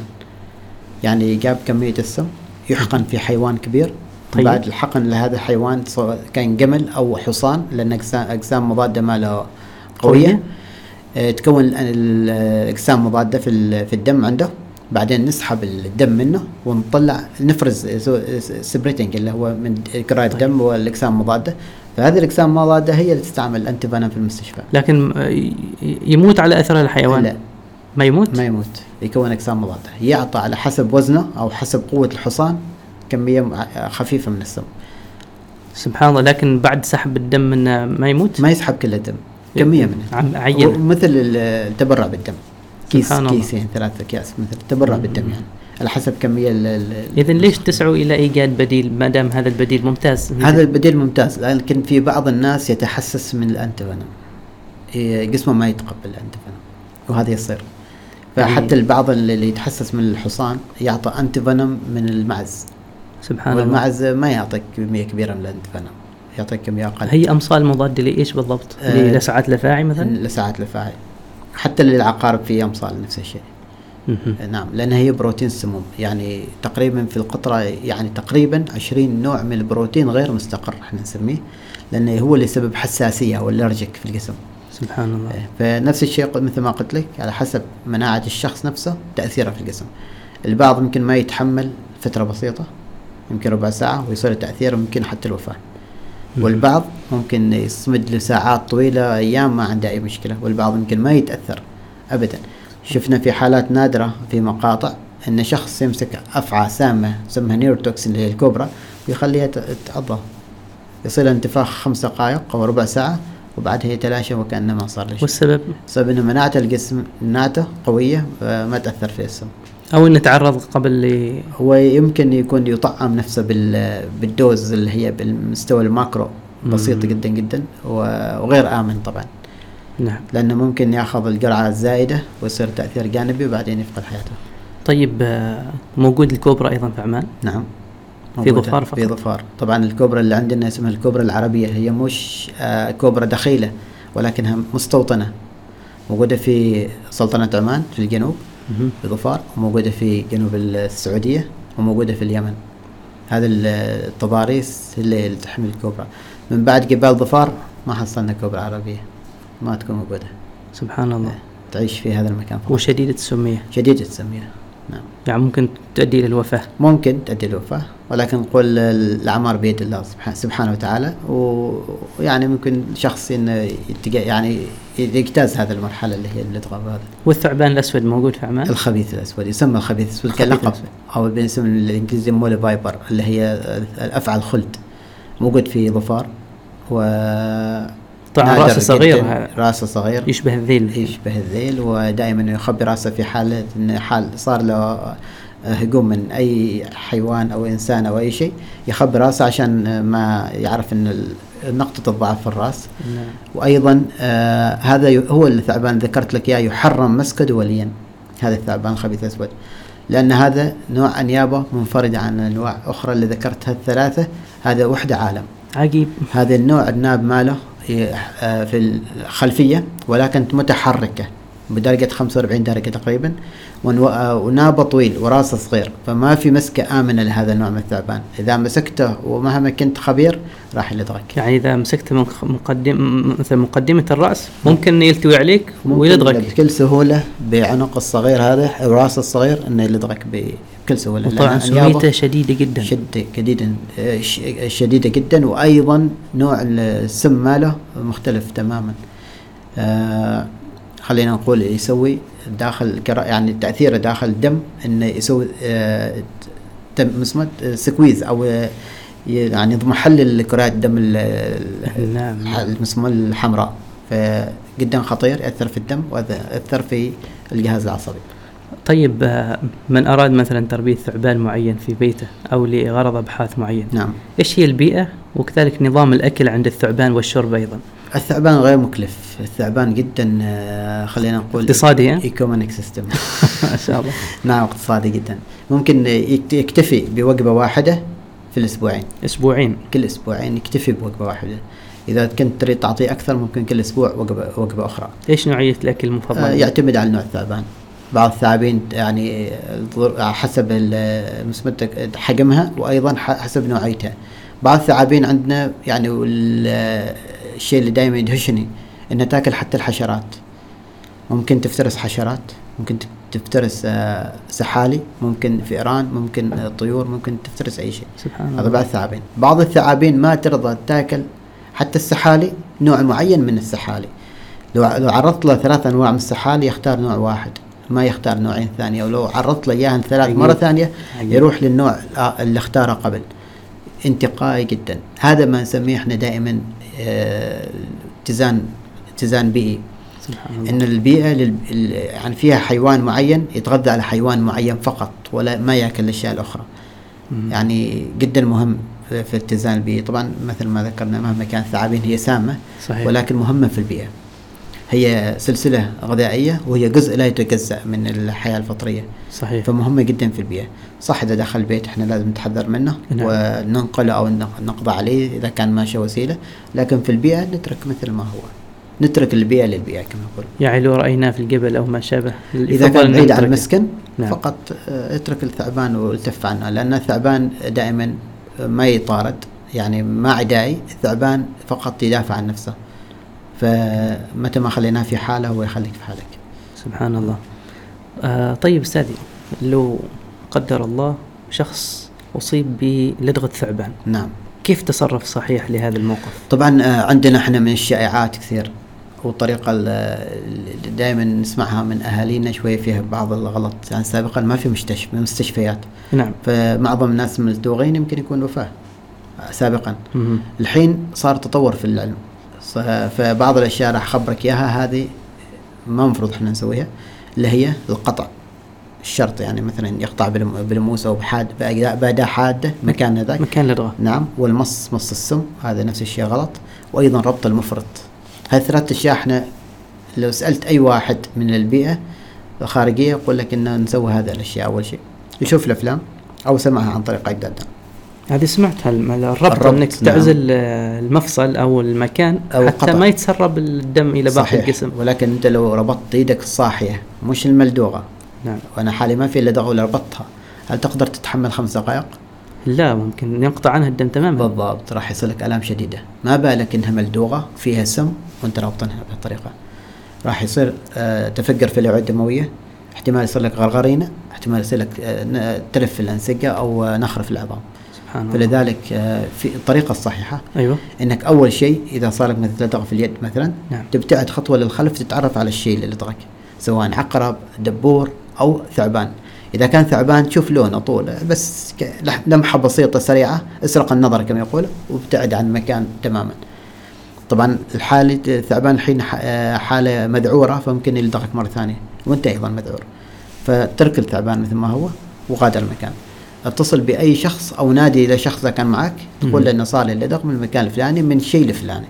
[SPEAKER 2] يعني جاب كميه السم يحقن في حيوان كبير
[SPEAKER 1] طيب.
[SPEAKER 2] طيب. بعد الحقن لهذا الحيوان سواء كان جمل او حصان لان اجسام أجسام مضاده ما له
[SPEAKER 1] قوية.
[SPEAKER 2] قويه آه، تكون ال- ال- الاجسام مضاده في ال- في الدم عنده بعدين نسحب الدم منه ونطلع نفرز سبريتنج اللي هو من كرة الدم والاجسام المضاده فهذه الاجسام المضاده هي اللي تستعمل الانتي فينوم في المستشفى
[SPEAKER 1] لكن آه، ي- يموت على أثر الحيوان
[SPEAKER 2] لا
[SPEAKER 1] ما يموت؟
[SPEAKER 2] ما يموت يكون اجسام مضاده يعطى على حسب وزنه او حسب قوه الحصان كميه مع- خفيفه من السم
[SPEAKER 1] سبحان الله لكن بعد سحب الدم منه ما يموت؟
[SPEAKER 2] ما يسحب كل الدم
[SPEAKER 1] إيه.
[SPEAKER 2] كميه منه
[SPEAKER 1] عم- عينة
[SPEAKER 2] مثل التبرع بالدم كيس
[SPEAKER 1] سبحان الله.
[SPEAKER 2] كيسين ثلاث اكياس مثل التبرع بالدم يعني على حسب كميه ال- ال-
[SPEAKER 1] إذا ليش تسعوا إلى إيجاد بديل ما دام هذا البديل ممتاز؟
[SPEAKER 2] هذا البديل ممتاز لكن في بعض الناس يتحسس من الانتفنم جسمه ما يتقبل الانتفنم وهذا يصير فحتى
[SPEAKER 1] يعني-
[SPEAKER 2] البعض اللي اللي يتحسس من الحصان يعطى انتفنم من المعز
[SPEAKER 1] سبحان الله
[SPEAKER 2] والمعز ما يعطيك كميه كبيره من الانتفنم يعطيك كميه اقل
[SPEAKER 1] هي أمصال مضادة لإيش بالضبط؟
[SPEAKER 2] آه،
[SPEAKER 1] للأسعات الأفاعي مثلا؟
[SPEAKER 2] لساعات الافاعي حتى للعقارب في امصال نفس الشيء
[SPEAKER 1] مهم.
[SPEAKER 2] نعم لانها هي بروتين سموم يعني تقريبا في القطره يعني تقريبا 20 نوع من البروتين غير مستقر احنا نسميه لانه هو اللي يسبب حساسيه او الرجك في الجسم
[SPEAKER 1] سبحان الله
[SPEAKER 2] إيه. فنفس الشيء قل- مثل ما قلت لك على حسب مناعه الشخص نفسه تاثيره في الجسم البعض يمكن ما يتحمل فتره بسيطه يمكن ربع ساعه ويصير تاثيره يمكن حتى الوفاه
[SPEAKER 1] مم.
[SPEAKER 2] والبعض ممكن يصمد لساعات طويله ايام ما عنده اي مشكله والبعض يمكن ما يتاثر ابدا شفنا في حالات نادره في مقاطع ان شخص يمسك افعى سامه تسمى نيروتوكسين اللي هي الكوبرا ويخليها ت- تعضه يصير لها انتفاخ خمس دقائق او ربع ساعه وبعدها يتلاشى وكانه ما صار له شيء
[SPEAKER 1] والسبب؟
[SPEAKER 2] بسبب انه مناعه طيب، الجسم مناعته قويه آه، ما تاثر في السم
[SPEAKER 1] أو أنه تعرض قبل ل
[SPEAKER 2] هو يمكن يكون يطعم نفسه بال بالدوز اللي هي بالمستوى الماكرو بسيط
[SPEAKER 1] مم.
[SPEAKER 2] جدا جدا و- وغير امن طبعا
[SPEAKER 1] نعم
[SPEAKER 2] لانه ممكن ياخذ الجرعه الزائده ويصير تاثير جانبي وبعدين يفقد حياته
[SPEAKER 1] طيب آه، موجود الكوبرا أيضا في عمان؟
[SPEAKER 2] نعم
[SPEAKER 1] في
[SPEAKER 2] موجودة.
[SPEAKER 1] ظفار فقط.
[SPEAKER 2] في ظفار طبعا الكوبرا اللي عندنا اسمها الكوبرا العربيه هي مش آه، كوبرا دخيله ولكنها مستوطنه موجوده في سلطنه عمان في الجنوب
[SPEAKER 1] مهم.
[SPEAKER 2] في ظفار وموجودة في جنوب السعودية وموجودة في اليمن هذا ال- التضاريس اللي تحمل الكوبرا من بعد جبال ظفار ما حصلنا كوبرا عربية ما تكون موجودة
[SPEAKER 1] سبحان الله
[SPEAKER 2] إيه. تعيش في هذا المكان فقط
[SPEAKER 1] وشديدة السمية
[SPEAKER 2] شديدة السمية نعم
[SPEAKER 1] يعني ممكن تؤدي إلى الوفاة
[SPEAKER 2] ممكن تؤدي الوفاة ولكن نقول الأعمار بيد الله سبحانه, سبحانه وتعالى و- ويعني ممكن شخص إنه يتج- يعني يجتاز هذه المرحلة اللي هي الإضغام هذا
[SPEAKER 1] والثعبان الأسود موجود في عمان؟
[SPEAKER 2] الخبيث الاسود يسمى الخبيث الاسود
[SPEAKER 1] نعم. الخبيث
[SPEAKER 2] كلقب
[SPEAKER 1] الأسود.
[SPEAKER 2] او باسم الانجليزي مولي فايبر اللي هي الافعى الخلد موجود في ظفار و
[SPEAKER 1] طبعاً
[SPEAKER 2] نادر
[SPEAKER 1] رأسه صغير
[SPEAKER 2] جداً.
[SPEAKER 1] هذا.
[SPEAKER 2] راسه صغير إيه.
[SPEAKER 1] يشبه الذيل
[SPEAKER 2] يشبه الذيل ودائما يخبي راسه في حاله ان حال صار له آه، هجوم من اي حيوان او انسان او اي شيء يخبي راسه عشان ما يعرف ان ال- نقطه الضعف في الراس
[SPEAKER 1] نعم.
[SPEAKER 2] وايضا آه هذا ي- هو الثعبان ذكرت لك اياه يحرم مسكه دوليا هذا الثعبان الخبيث الاسود لان هذا نوع انيابه منفرده عن انواع اخرى اللي ذكرتها الثلاثه هذا وحده عالم
[SPEAKER 1] عجيب
[SPEAKER 2] هذا النوع الناب ماله ي- آه، في الخلفية ولكن متحركة بدرجة 45 درجة تقريبا ونو- آه، ونابه طويل وراسه صغير فما في مسكة آمنة لهذا النوع من الثعبان إذا مسكته ومهما كنت خبير راح يلدغك
[SPEAKER 1] يعني اذا مسكته من خ- مقدم م- مثلا مقدمه الراس ممكن إنه يلتوي عليك ويلدغك
[SPEAKER 2] بكل سهولة بعنقه الصغير هذا راسه الصغير انه يلدغك ب- بكل سهولة
[SPEAKER 1] وطبعا
[SPEAKER 2] لأن أنيابه
[SPEAKER 1] سميته شديده جدا
[SPEAKER 2] شدة جديدا آه، ش- شديدة جدا وأيضا نوع السم ماله مختلف تماما آه، خلينا نقول يسوي داخل كرا- يعني تأثيره داخل الدم إنه يسوي آه، تم اسمه إيه؟ سكويز أو آه، يعني يضمح لي كريات الدم ال- ال-
[SPEAKER 1] نعم.
[SPEAKER 2] الح- المسمى الحمراء فجدا خطير يأثر في الدم ويأثر في الجهاز العصبي
[SPEAKER 1] طيب آه، من اراد مثلا تربيه ثعبان معين في بيته او لغرض ابحاث معين
[SPEAKER 2] نعم
[SPEAKER 1] ايش هي البيئه وكذلك نظام الاكل عند الثعبان والشرب ايضا
[SPEAKER 2] الثعبان غير مكلف الثعبان جدا آه، خلينا نقول
[SPEAKER 1] اقتصادي، ها؟
[SPEAKER 2] ايكومينيك سيستم
[SPEAKER 1] ما شاء الله
[SPEAKER 2] نعم اقتصادي جدا ممكن يكت- يكتفي بوجبه واحده في الاسبوعين
[SPEAKER 1] اسبوعين
[SPEAKER 2] كل اسبوعين يكتفي بوجبه واحده اذا كنت تريد تعطيه اكثر ممكن كل اسبوع وجبه وجبه اخرى
[SPEAKER 1] ايش نوعيه الاكل
[SPEAKER 2] آه،
[SPEAKER 1] المفضله
[SPEAKER 2] يعتمد على نوع الثعبان بعض الثعابين يعني الظر- حسب ال- مسمتك حجمها وايضا ح- حسب نوعيتها بعض الثعابين عندنا يعني وال- الشيء اللي دائما يدهشني انها تاكل حتى الحشرات ممكن تفترس حشرات ممكن تك- تفترس آه، سحالي ممكن فئران ممكن آه، طيور ممكن تفترس اي شيء
[SPEAKER 1] سبحان
[SPEAKER 2] هذا
[SPEAKER 1] الله
[SPEAKER 2] بعض الثعابين بعض الثعابين ما ترضى تاكل حتى السحالي نوع معين من السحالي لو لو عرضت له ثلاث انواع من السحالي يختار نوع واحد ما يختار نوعين ثانيه ولو عرضت له اياهم ثلاث
[SPEAKER 1] عجيب.
[SPEAKER 2] مره ثانيه
[SPEAKER 1] عجيب.
[SPEAKER 2] يروح للنوع الآ- اللي اختاره قبل انتقائي جدا هذا ما نسميه احنا دائما آه، اتزان اتزان بيئي
[SPEAKER 1] سبحان الله
[SPEAKER 2] ان البيئه لل... ال- يعني فيها حيوان معين يتغذى على حيوان معين فقط ولا ما ياكل الاشياء الاخرى
[SPEAKER 1] مم.
[SPEAKER 2] يعني جدا مهم في في الاتزان البيئي طبعا مثل ما ذكرنا مهما كانت الثعابين هي سامه
[SPEAKER 1] صحيح
[SPEAKER 2] ولكن مهمه في البيئه هي سلسله غذائيه وهي جزء لا يتجزا من الحياه الفطريه
[SPEAKER 1] صحيح
[SPEAKER 2] فمهمه جدا في البيئه صح اذا دخل البيت احنا لازم نتحذر منه
[SPEAKER 1] نعم.
[SPEAKER 2] وننقله او نق- نقضى عليه اذا كان ماشي وسيله لكن في البيئه نترك مثل ما هو نترك البيئه للبيئه كما يقول
[SPEAKER 1] يا علو رايناه يعني في الجبل او ما شابه
[SPEAKER 2] اذا
[SPEAKER 1] يفضل
[SPEAKER 2] كان
[SPEAKER 1] أن
[SPEAKER 2] بعيد عن
[SPEAKER 1] نتركه.
[SPEAKER 2] المسكن
[SPEAKER 1] نعم.
[SPEAKER 2] نعم. فقط آه، اترك الثعبان والتف عنه لان الثعبان دائما ما يطارد يعني ما عدائي الثعبان فقط يدافع عن نفسه فمتى ما خليناه في حاله هو يخليك في حالك
[SPEAKER 1] سبحان الله آه طيب استاذي لو قدر الله شخص اصيب بلدغه ثعبان
[SPEAKER 2] نعم
[SPEAKER 1] كيف تصرف صحيح لهذا الموقف
[SPEAKER 2] طبعا آه، عندنا احنا من الشائعات كثير والطريقة ال- اللي دائما نسمعها من أهالينا شوية فيها بعض الغلط يعني سابقا ما في مستشفى مستشفيات
[SPEAKER 1] نعم
[SPEAKER 2] فمعظم الناس الملدوغين يمكن يكون وفاة آه، سابقا
[SPEAKER 1] مهم.
[SPEAKER 2] الحين صار تطور في العلم ص- فبعض الاشياء راح اخبرك اياها هذه ما المفروض احنا نسويها اللي هي القطع الشرط يعني مثلا يقطع بالم- بالموس او بحاد بأداة بأداة حاده مكان هذاك
[SPEAKER 1] مكان لدغه
[SPEAKER 2] نعم والمص مص السم هذا نفس الشيء غلط وايضا ربط المفرط هذه ثلاث اشياء احنا لو سالت اي واحد من البيئه الخارجيه يقول لك ان نسوي هذه الاشياء اول شيء يشوف الافلام او سمعها عن طريق اجدادنا
[SPEAKER 1] هذه سمعتها الم- الربط,
[SPEAKER 2] الربط،
[SPEAKER 1] انك
[SPEAKER 2] نعم.
[SPEAKER 1] تعزل آه، المفصل او المكان
[SPEAKER 2] أو
[SPEAKER 1] حتى
[SPEAKER 2] القطع.
[SPEAKER 1] ما يتسرب الدم الى باقي
[SPEAKER 2] صحيح.
[SPEAKER 1] الجسم
[SPEAKER 2] ولكن انت لو ربطت ايدك الصاحيه مش الملدوغه
[SPEAKER 1] نعم
[SPEAKER 2] وانا حالي ما في الا دغه ولا ربطتها هل تقدر تتحمل خمس دقائق؟
[SPEAKER 1] لا ممكن ينقطع عنها الدم تماما
[SPEAKER 2] بالضبط راح يصيلك الام شديده ما بالك انها ملدوغه فيها سم وانت رابطنها بهالطريقه راح يصير آه تفجر في الاوعيه الدمويه احتمال يصير لك غرغرينه احتمال يصير لك آه ن- تلف في الانسجه او آه نخر في العظام
[SPEAKER 1] سبحان الله
[SPEAKER 2] فلذلك آه في الطريقه الصحيحه
[SPEAKER 1] ايوه
[SPEAKER 2] انك اول شيء اذا صار لك مثل لدغه في اليد مثلا
[SPEAKER 1] نعم.
[SPEAKER 2] تبتعد خطوه للخلف تتعرف على الشيء اللي لدغك سواء عقرب دبور او ثعبان اذا كان ثعبان تشوف لونه طوله بس ك- لح- لمحه بسيطه سريعه اسرق النظر كما يقول وابتعد عن المكان تماما طبعا الحالة الثعبان الحين ح- آه، حالة مذعورة فممكن يلدغك مرة ثانية وانت ايضا مذعور فترك الثعبان مثل ما هو وغادر المكان اتصل باي شخص او نادي الى شخص اذا كان معك تقول له انه صار لي لدغ من المكان الفلاني من الشيء الفلاني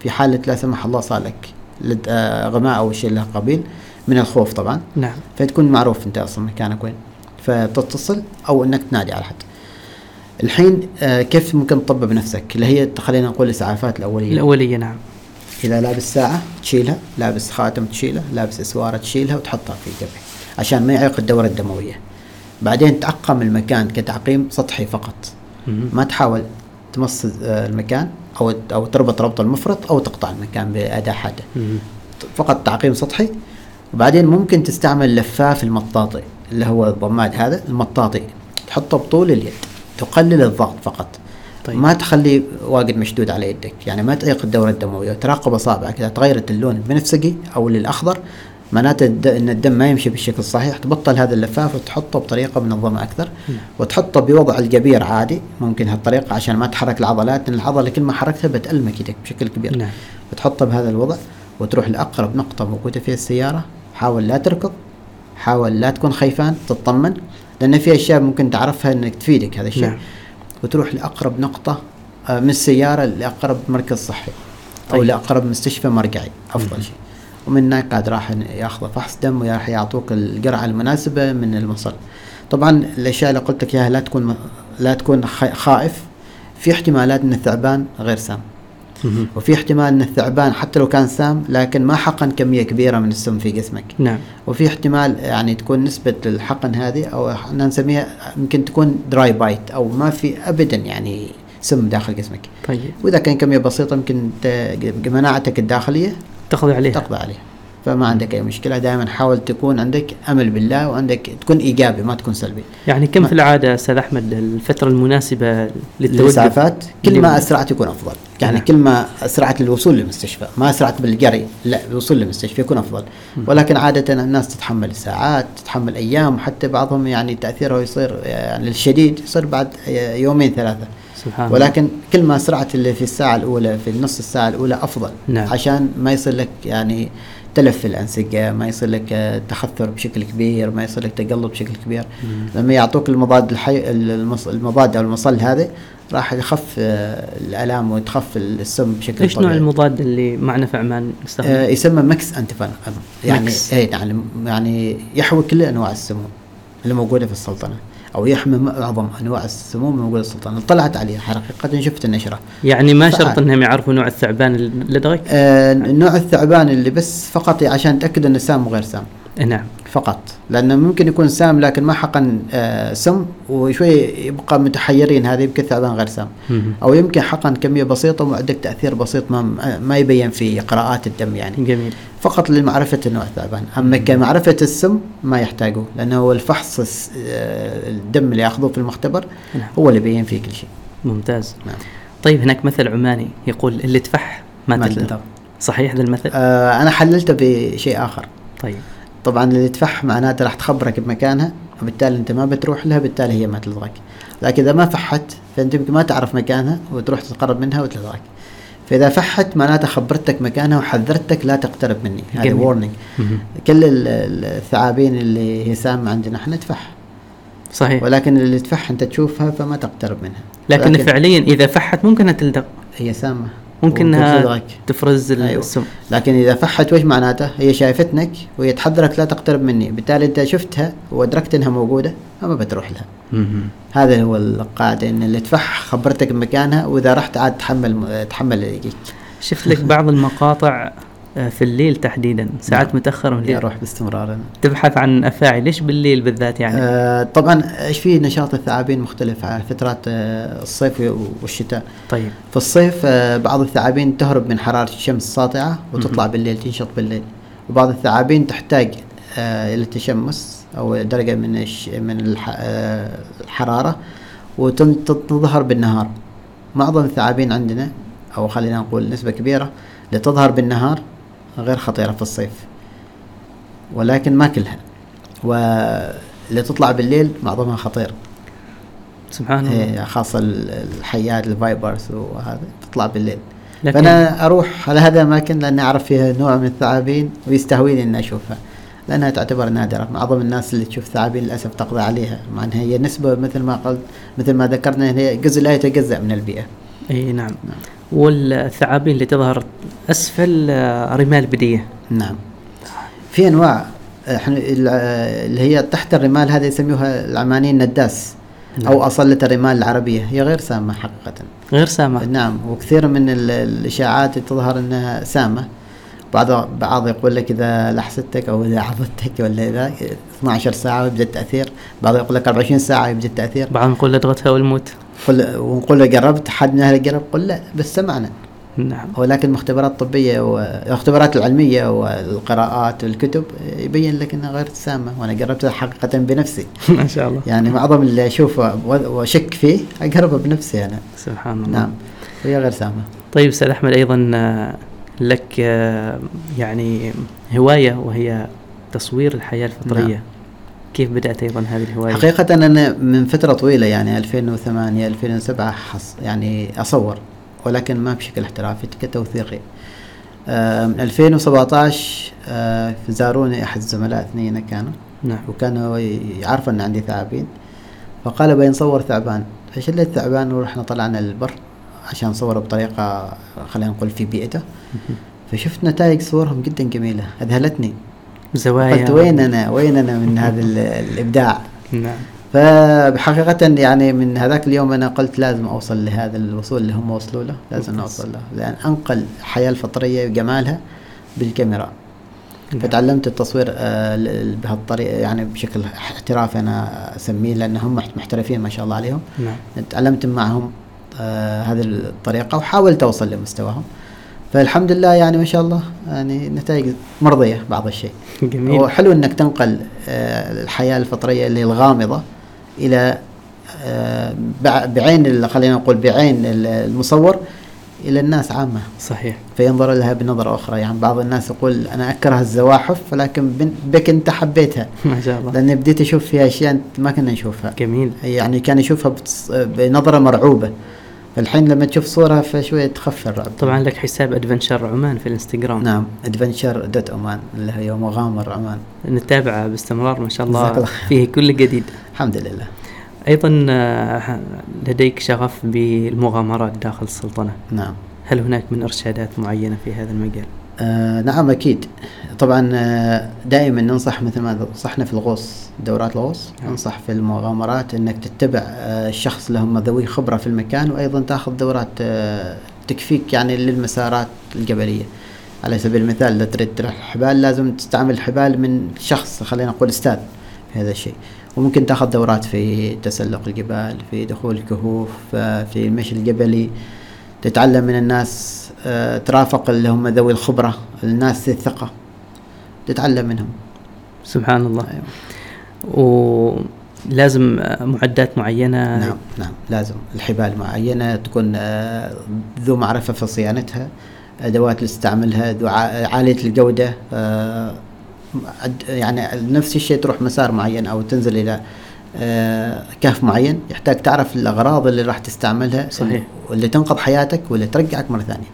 [SPEAKER 2] في حاله لا سمح الله صار لك لد- آه، غماء او شيء له قبيل من الخوف طبعا
[SPEAKER 1] نعم
[SPEAKER 2] فتكون معروف انت اصلا مكانك وين فتتصل او انك تنادي على حد الحين آه، كيف ممكن تطبب نفسك اللي هي خلينا نقول الاسعافات الاوليه
[SPEAKER 1] الأولية نعم
[SPEAKER 2] اذا لابس ساعه تشيلها لابس خاتم تشيله لابس اسواره تشيلها وتحطها في جبهه عشان ما يعيق الدوره الدمويه بعدين تعقم المكان كتعقيم سطحي فقط
[SPEAKER 1] مم.
[SPEAKER 2] ما تحاول تمص آه، المكان او او تربط ربط المفرط او تقطع المكان باداه حاده
[SPEAKER 1] مم.
[SPEAKER 2] فقط تعقيم سطحي وبعدين ممكن تستعمل لفاف المطاطي اللي هو الضماد هذا المطاطي تحطه بطول اليد تقلل الضغط فقط
[SPEAKER 1] طيب.
[SPEAKER 2] طيب. ما تخلي واجد مشدود على يدك يعني ما تعيق الدورة الدموية وتراقب أصابعك إذا تغيرت اللون البنفسجي أو للأخضر معناته الد- أن الدم ما يمشي بالشكل الصحيح تبطل هذا اللفاف وتحطه بطريقة منظمة أكثر وتحطه بوضع الجبير عادي ممكن هالطريقة عشان ما تحرك العضلات لأن العضلة كل ما حركتها بتألمك يدك بشكل كبير
[SPEAKER 1] نعم.
[SPEAKER 2] بتحطه بهذا الوضع وتروح لأقرب نقطة موجودة فيها السيارة حاول لا تركض حاول لا تكون خيفان تطمن لأن في أشياء ممكن تعرفها أنك تفيدك هذا الشيء
[SPEAKER 1] نعم.
[SPEAKER 2] نعم. وتروح لأقرب نقطة آه، من السيارة لأقرب مركز صحي أو
[SPEAKER 1] طيب. نعم.
[SPEAKER 2] لأقرب مستشفى مرجعي أفضل شيء ومن هناك عاد راح ياخذ فحص دم وراح يعطوك القرعة المناسبة من المصل طبعا الأشياء اللي قلت لك إياها لا تكون لا تكون خ- خائف في احتمالات أن الثعبان غير سام
[SPEAKER 1] مم.
[SPEAKER 2] وفي احتمال ان الثعبان حتى لو كان سام لكن ما حقن كميه كبيره من السم في جسمك
[SPEAKER 1] نعم
[SPEAKER 2] وفي احتمال يعني تكون نسبه الحقن هذه او احنا نسميها يمكن تكون دراي بايت او ما في ابدا يعني سم داخل جسمك
[SPEAKER 1] طيب
[SPEAKER 2] واذا كان كميه بسيطه يمكن ت- مناعتك الداخليه
[SPEAKER 1] تقضي عليها
[SPEAKER 2] تقضى عليها فما عندك اي مشكله دائما حاول تكون عندك امل بالله وعندك تكون ايجابي ما تكون سلبي
[SPEAKER 1] يعني كم
[SPEAKER 2] ما-
[SPEAKER 1] في العاده استاذ احمد الفتره المناسبه للتوقف
[SPEAKER 2] الاسعافات كل ما اسرعت يكون افضل يعني
[SPEAKER 1] نعم.
[SPEAKER 2] كل ما اسرعت للوصول للمستشفى ما اسرعت بالجري لا الوصول للمستشفى يكون افضل ولكن عاده الناس تتحمل ساعات تتحمل ايام وحتى بعضهم يعني تاثيره يصير يعني الشديد يصير بعد يومين ثلاثه
[SPEAKER 1] سبحان الله
[SPEAKER 2] ولكن كل ما سرعت اللي في الساعه الاولى في النص الساعه الاولى افضل
[SPEAKER 1] نعم.
[SPEAKER 2] عشان ما يصير لك يعني تلف في الانسجه ما يصير لك آه، تخثر بشكل كبير ما يصير لك تقلب بشكل كبير لما يعطوك المضاد الحي المص... المضاد او المصل هذا راح يخف آه، الالام وتخف السم بشكل
[SPEAKER 1] ايش نوع
[SPEAKER 2] طبيعي.
[SPEAKER 1] المضاد اللي مع نفع ما نستخدمه؟
[SPEAKER 2] آه يسمى مكس انتفان يعني
[SPEAKER 1] مكس.
[SPEAKER 2] اي نعم يعني يحوي كل انواع السموم اللي موجوده في السلطنه او يحمي معظم انواع السموم الموجوده في السلطنه طلعت عليها حقيقه شفت النشره
[SPEAKER 1] يعني ما
[SPEAKER 2] فعال.
[SPEAKER 1] شرط انهم يعرفوا نوع الثعبان اللدغي؟
[SPEAKER 2] آه نوع الثعبان اللي بس فقط عشان تاكد انه سام وغير سام
[SPEAKER 1] نعم
[SPEAKER 2] فقط لانه ممكن يكون سام لكن ما حقن آه سم وشوي يبقى متحيرين هذا يمكن ثعبان غير سام
[SPEAKER 1] مم.
[SPEAKER 2] او يمكن حقن كميه بسيطه وعندك تاثير بسيط ما ما يبين في قراءات الدم يعني
[SPEAKER 1] جميل
[SPEAKER 2] فقط لمعرفة النوع الثعبان أما كمعرفة السم ما يحتاجه لأنه هو الفحص الس- آه، الدم اللي يأخذوه في المختبر
[SPEAKER 1] نعم.
[SPEAKER 2] هو اللي بيبين فيه كل شيء
[SPEAKER 1] ممتاز
[SPEAKER 2] نعم.
[SPEAKER 1] طيب هناك مثل عماني يقول اللي تفح ما
[SPEAKER 2] ما
[SPEAKER 1] تتلذذ
[SPEAKER 2] تلذذ.
[SPEAKER 1] صحيح ذا المثل؟
[SPEAKER 2] آه، أنا حللته بشيء آخر
[SPEAKER 1] طيب
[SPEAKER 2] طبعا اللي تفح معناته راح تخبرك بمكانها وبالتالي أنت ما بتروح لها بالتالي هي ما تلغاك لكن إذا ما فحت فأنت يمكن ما تعرف مكانها وتروح تتقرب منها وتلغاك فإذا فحت معناته خبرتك مكانها وحذرتك لا تقترب مني هذا
[SPEAKER 1] جميل.
[SPEAKER 2] وورنينج
[SPEAKER 1] مهم.
[SPEAKER 2] كل ال- ال- الثعابين اللي هي سامة عندنا احنا تفح
[SPEAKER 1] صحيح
[SPEAKER 2] ولكن اللي تفح انت تشوفها فما تقترب منها
[SPEAKER 1] إيه. لكن فعليا اذا فحت ممكن انها تلدغ
[SPEAKER 2] هي سامه
[SPEAKER 1] ممكن انها
[SPEAKER 2] وتلدغك.
[SPEAKER 1] تفرز
[SPEAKER 2] أيوة.
[SPEAKER 1] السم
[SPEAKER 2] لكن اذا فحت وش معناته؟ هي شايفتنك وهي تحذرك لا تقترب مني، بالتالي انت شفتها وادركت انها موجوده فما بتروح لها.
[SPEAKER 1] مهم.
[SPEAKER 2] هذا هو القاعده ان اللي تفح خبرتك بمكانها واذا رحت عاد تحمل تحمل اللي يجيك.
[SPEAKER 1] شفت لك بعض المقاطع آه، في الليل تحديدا ساعات
[SPEAKER 2] نعم.
[SPEAKER 1] متاخره من الليل
[SPEAKER 2] يروح باستمرار أنا.
[SPEAKER 1] تبحث عن افاعي ليش بالليل بالذات يعني؟
[SPEAKER 2] آه طبعا ايش في نشاط الثعابين مختلف على فترات آه الصيف والشتاء.
[SPEAKER 1] طيب
[SPEAKER 2] في الصيف آه، بعض الثعابين تهرب من حرارة الشمس الساطعة وتطلع بالليل تنشط بالليل وبعض الثعابين تحتاج آه، إلى التشمس أو درجة من الش... من الح... آه، الحرارة وتظهر بالنهار معظم الثعابين عندنا أو خلينا نقول نسبة كبيرة اللي تظهر بالنهار غير خطيرة في الصيف ولكن ما كلها واللي تطلع بالليل معظمها خطير
[SPEAKER 1] سبحان الله
[SPEAKER 2] إيه، خاصة ال- الحيات الفايبرز وهذا تطلع بالليل
[SPEAKER 1] لكن
[SPEAKER 2] فانا اروح على هذا الاماكن لاني اعرف فيها نوع من الثعابين ويستهويني اني اشوفها لأنها تعتبر نادرة معظم الناس اللي تشوف ثعابين للأسف تقضي عليها مع أنها هي نسبة مثل ما قلت مثل ما ذكرنا هي جزء لا يتجزأ من البيئة
[SPEAKER 1] اي نعم والثعابين اللي تظهر اسفل آه، رمال بديه
[SPEAKER 2] نعم في أنواع احنا ال- آه، اللي هي تحت الرمال هذه يسميوها العمانيين نداس أو أصلة الرمال العربية هي غير سامة حقيقةً
[SPEAKER 1] غير سامه
[SPEAKER 2] نعم وكثير من ال- الاشاعات تظهر انها سامه بعض بعض يقول لك اذا لحستك او اذا عضتك ولا اذا 12 ساعه ويبدا التاثير بعض يقول لك 24 ساعه يبدا التاثير
[SPEAKER 1] بعضهم يقول لدغتها والموت
[SPEAKER 2] قل ونقول له جربت حد من اهلك جرب قل لا بس سمعنا
[SPEAKER 1] نعم
[SPEAKER 2] ولكن المختبرات الطبيه والاختبارات العلميه والقراءات والكتب يبين لك انها غير سامه وانا جربتها حقيقه بنفسي
[SPEAKER 1] ما شاء الله
[SPEAKER 2] يعني معظم اللي اشوفه واشك فيه اجربه بنفسي انا
[SPEAKER 1] سبحان الله
[SPEAKER 2] نعم وهي غير سامه
[SPEAKER 1] طيب استاذ احمد ايضا آه، لك آه، يعني هوايه وهي تصوير الحياه الفطريه
[SPEAKER 2] نعم.
[SPEAKER 1] كيف بدات ايضا هذه الهوايه؟
[SPEAKER 2] حقيقة أنا من فترة طويلة يعني 2008 2007 حص يعني أصور ولكن ما بشكل احترافي كتوثيقي آه، من 2017 آه، زاروني أحد الزملاء اثنين كانوا
[SPEAKER 1] نعم
[SPEAKER 2] وكانوا يعرفوا أن عندي ثعابين فقال بين صور ثعبان فشلت ثعبان ورحنا طلعنا للبر عشان صوره بطريقة خلينا نقول في بيئته فشفت نتائج صورهم جدا جميلة أذهلتني
[SPEAKER 1] زوايا
[SPEAKER 2] قلت وين أنا وين أنا من هذا ال- الإبداع
[SPEAKER 1] نعم
[SPEAKER 2] فحقيقة يعني من هذاك اليوم أنا قلت لازم أوصل لهذا الوصول اللي هم وصلوا له لازم
[SPEAKER 1] ممتاز.
[SPEAKER 2] أوصل له لأن أنقل الحياة الفطرية وجمالها بالكاميرا فتعلمت التصوير آه، ل- ل- بهالطريقة يعني بشكل احترافي أنا أسميه لأن هم محت- محترفين ما شاء الله عليهم
[SPEAKER 1] نعم
[SPEAKER 2] تعلمت معهم آه، هذه الطريقة وحاولت أوصل لمستواهم فالحمد لله يعني ما شاء الله يعني نتائج مرضية بعض الشيء
[SPEAKER 1] جميل
[SPEAKER 2] هو حلو انك تنقل آه، الحياه الفطريه اللي الغامضه الى آه، بع- بعين ال- خلينا نقول بعين ال- المصور الى الناس عامه
[SPEAKER 1] صحيح
[SPEAKER 2] فينظر لها بنظره اخرى يعني بعض الناس يقول انا اكره الزواحف ولكن بن- بك انت حبيتها
[SPEAKER 1] ما شاء الله
[SPEAKER 2] لاني بديت اشوف فيها اشياء أنت ما كنا نشوفها
[SPEAKER 1] جميل
[SPEAKER 2] يعني كان يشوفها بتص- بنظره مرعوبه فالحين لما تشوف صورها فشويه تخف الرعب
[SPEAKER 1] طبعا لك حساب ادفنشر عمان في الانستغرام
[SPEAKER 2] نعم ادفنشر دوت عمان اللي هي مغامر عمان
[SPEAKER 1] نتابعه باستمرار ما شاء الله
[SPEAKER 2] جزاك الله
[SPEAKER 1] فيه كل جديد
[SPEAKER 2] الحمد لله
[SPEAKER 1] ايضا آه، لديك شغف بالمغامرات داخل السلطنه
[SPEAKER 2] نعم
[SPEAKER 1] هل هناك من ارشادات معينه في هذا المجال
[SPEAKER 2] آه نعم أكيد طبعا آه، دائما ننصح مثل ما نصحنا في الغوص دورات الغوص
[SPEAKER 1] نعم.
[SPEAKER 2] ننصح في المغامرات أنك تتبع آه الشخص اللي هم ذوي خبرة في المكان وأيضا تأخذ دورات آه تكفيك يعني للمسارات الجبلية على سبيل المثال إذا تريد تروح الحبال لازم تستعمل الحبال من شخص خلينا نقول أستاذ في هذا الشيء وممكن تاخذ دورات في تسلق الجبال في دخول الكهوف آه، في المشي الجبلي تتعلم من الناس آه، ترافق اللي هم ذوي الخبرة الناس ذي الثقة تتعلم منهم
[SPEAKER 1] سبحان الله
[SPEAKER 2] أيوة.
[SPEAKER 1] ولازم آه، معدات معينه
[SPEAKER 2] نعم نعم لازم الحبال معينة تكون آه، ذو معرفة في صيانتها أدوات اللي تستعملها ذو ع- عالية الجودة آه، عد- يعني نفس الشيء تروح مسار معين أو تنزل إلى آه، كهف معين يحتاج تعرف الأغراض اللي راح تستعملها
[SPEAKER 1] صحيح.
[SPEAKER 2] واللي تنقذ حياتك واللي ترجعك مرة ثانية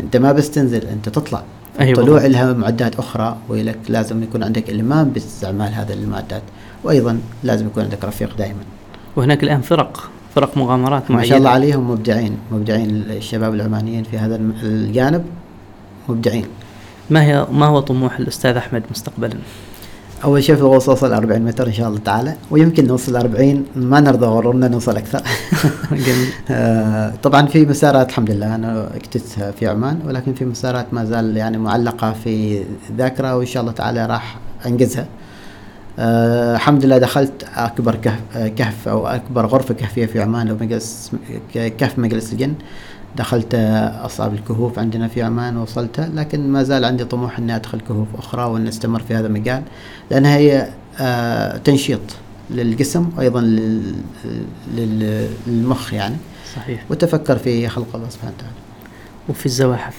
[SPEAKER 2] أنت ما بس تنزل أنت تطلع
[SPEAKER 1] أيوة.
[SPEAKER 2] الطلوع لها معدات أخرى ولك لازم يكون عندك إلمام باستعمال هذه المعدات وأيضا لازم يكون عندك رفيق دائما
[SPEAKER 1] وهناك الان فرق فرق مغامرات معينه
[SPEAKER 2] ما شاء الله عليهم مبدعين مبدعين الشباب العمانيين في هذا الم- الجانب مبدعين
[SPEAKER 1] ما هي ما هو طموح الاستاذ احمد مستقبلا
[SPEAKER 2] اول شيء في الغوص اوصل 40 متر ان شاء الله تعالى ويمكن نوصل 40 ما نرضى غرورنا نوصل اكثر
[SPEAKER 1] جميل
[SPEAKER 2] آه، طبعا في مسارات الحمد لله انا اكتتها في عمان ولكن في مسارات ما زال يعني معلقه في ذاكره وان شاء الله تعالى راح انجزها آه، الحمد لله دخلت اكبر كهف, آه، كهف او اكبر غرفه كهفيه في عمان لو مجلس ك- كهف مجلس الجن دخلت آه، اصعب الكهوف عندنا في عمان ووصلتها لكن ما زال عندي طموح اني ادخل كهوف اخرى وان استمر في هذا المجال لانها هي آه، تنشيط للجسم وايضا لل- لل- للمخ يعني
[SPEAKER 1] صحيح
[SPEAKER 2] وتفكر في خلق الله سبحانه وتعالى
[SPEAKER 1] وفي الزواحف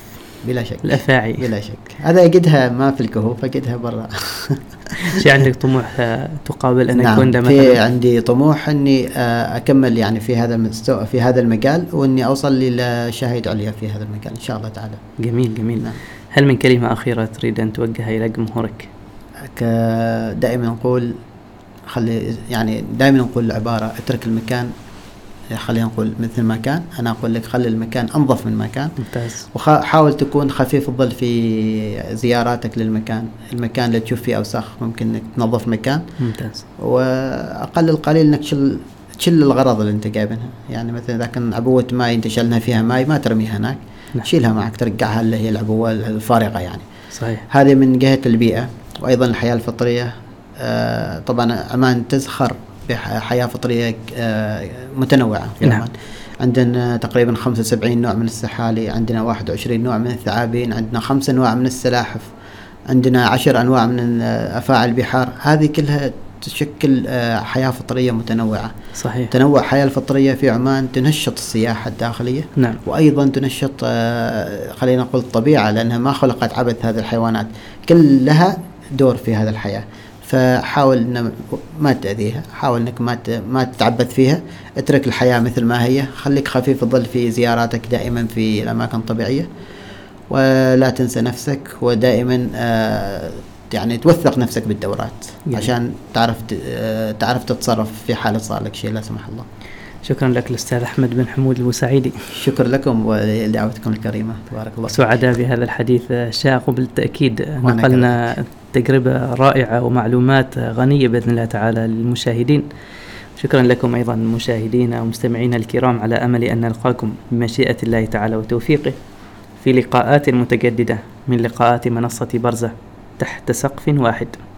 [SPEAKER 2] بلا شك
[SPEAKER 1] الافاعي
[SPEAKER 2] بلا شك هذا اجدها ما في الكهوف اجدها برا
[SPEAKER 1] شيء عندك طموح آه، تقابل ان يكون ده
[SPEAKER 2] نعم، في
[SPEAKER 1] مثلا
[SPEAKER 2] عندي طموح اني آه، اكمل يعني في هذا المستوى في هذا المجال واني اوصل لشهاده عليا في هذا المجال ان شاء الله تعالى
[SPEAKER 1] جميل جميل
[SPEAKER 2] نعم.
[SPEAKER 1] هل من كلمه اخيره تريد ان توجهها الى جمهورك
[SPEAKER 2] ك- دائما نقول خلي يعني دائما نقول العبارة اترك المكان خلينا نقول مثل ما كان أنا أقول لك خلي المكان أنظف من ما كان
[SPEAKER 1] ممتاز
[SPEAKER 2] وحاول تكون خفيف الظل في زياراتك للمكان المكان اللي تشوف فيه أوساخ ممكن إنك تنظف مكان
[SPEAKER 1] ممتاز
[SPEAKER 2] واقل القليل انك تشل تشل الغرض اللي انت جايبينها يعني مثلا اذا كان عبوه ماي انت شلنا فيها ماي ما ترميها هناك
[SPEAKER 1] نعم.
[SPEAKER 2] شيلها معك ترجعها اللي هي العبوه الفارغه يعني
[SPEAKER 1] صحيح
[SPEAKER 2] هذه من جهه البيئه وايضا الحياه الفطريه آه، طبعا عمان تزخر بحياه فطريه آه، متنوعه في
[SPEAKER 1] نعم.
[SPEAKER 2] عمان عندنا تقريبا 75 نوع من السحالي عندنا 21 نوع من الثعابين عندنا خمس انواع من السلاحف عندنا عشر انواع من آه، افاعي البحار هذه كلها تشكل آه، حياه فطريه متنوعه
[SPEAKER 1] صحيح
[SPEAKER 2] تنوع الحياه الفطريه في عمان تنشط السياحه الداخليه
[SPEAKER 1] نعم
[SPEAKER 2] وايضا تنشط آه، خلينا نقول الطبيعه لانها ما خلقت عبث هذه الحيوانات كل لها دور في هذه الحياه فحاول ان ما تاذيها حاول انك ما ت- ما تتعبث فيها اترك الحياه مثل ما هي خليك خفيف الظل في زياراتك دائما في الاماكن الطبيعيه ولا تنسى نفسك ودائما آه، يعني توثق نفسك بالدورات
[SPEAKER 1] جميل.
[SPEAKER 2] عشان تعرف ت- آه، تعرف تتصرف في حاله صار لك شيء لا سمح الله
[SPEAKER 1] شكرا لك الاستاذ احمد بن حمود البوسعيدي
[SPEAKER 2] شكر لكم ولدعوتكم الكريمه تبارك الله
[SPEAKER 1] سعداء بهذا الحديث الشاق وبالتأكيد
[SPEAKER 2] وأنا
[SPEAKER 1] نقلنا تجربة رائعة ومعلومات غنية بإذن الله تعالى للمشاهدين شكرا لكم أيضا مشاهدينا ومستمعينا الكرام على أمل أن نلقاكم بمشيئة الله تعالى وتوفيقه في لقاءات متجددة من لقاءات منصة برزة تحت سقف واحد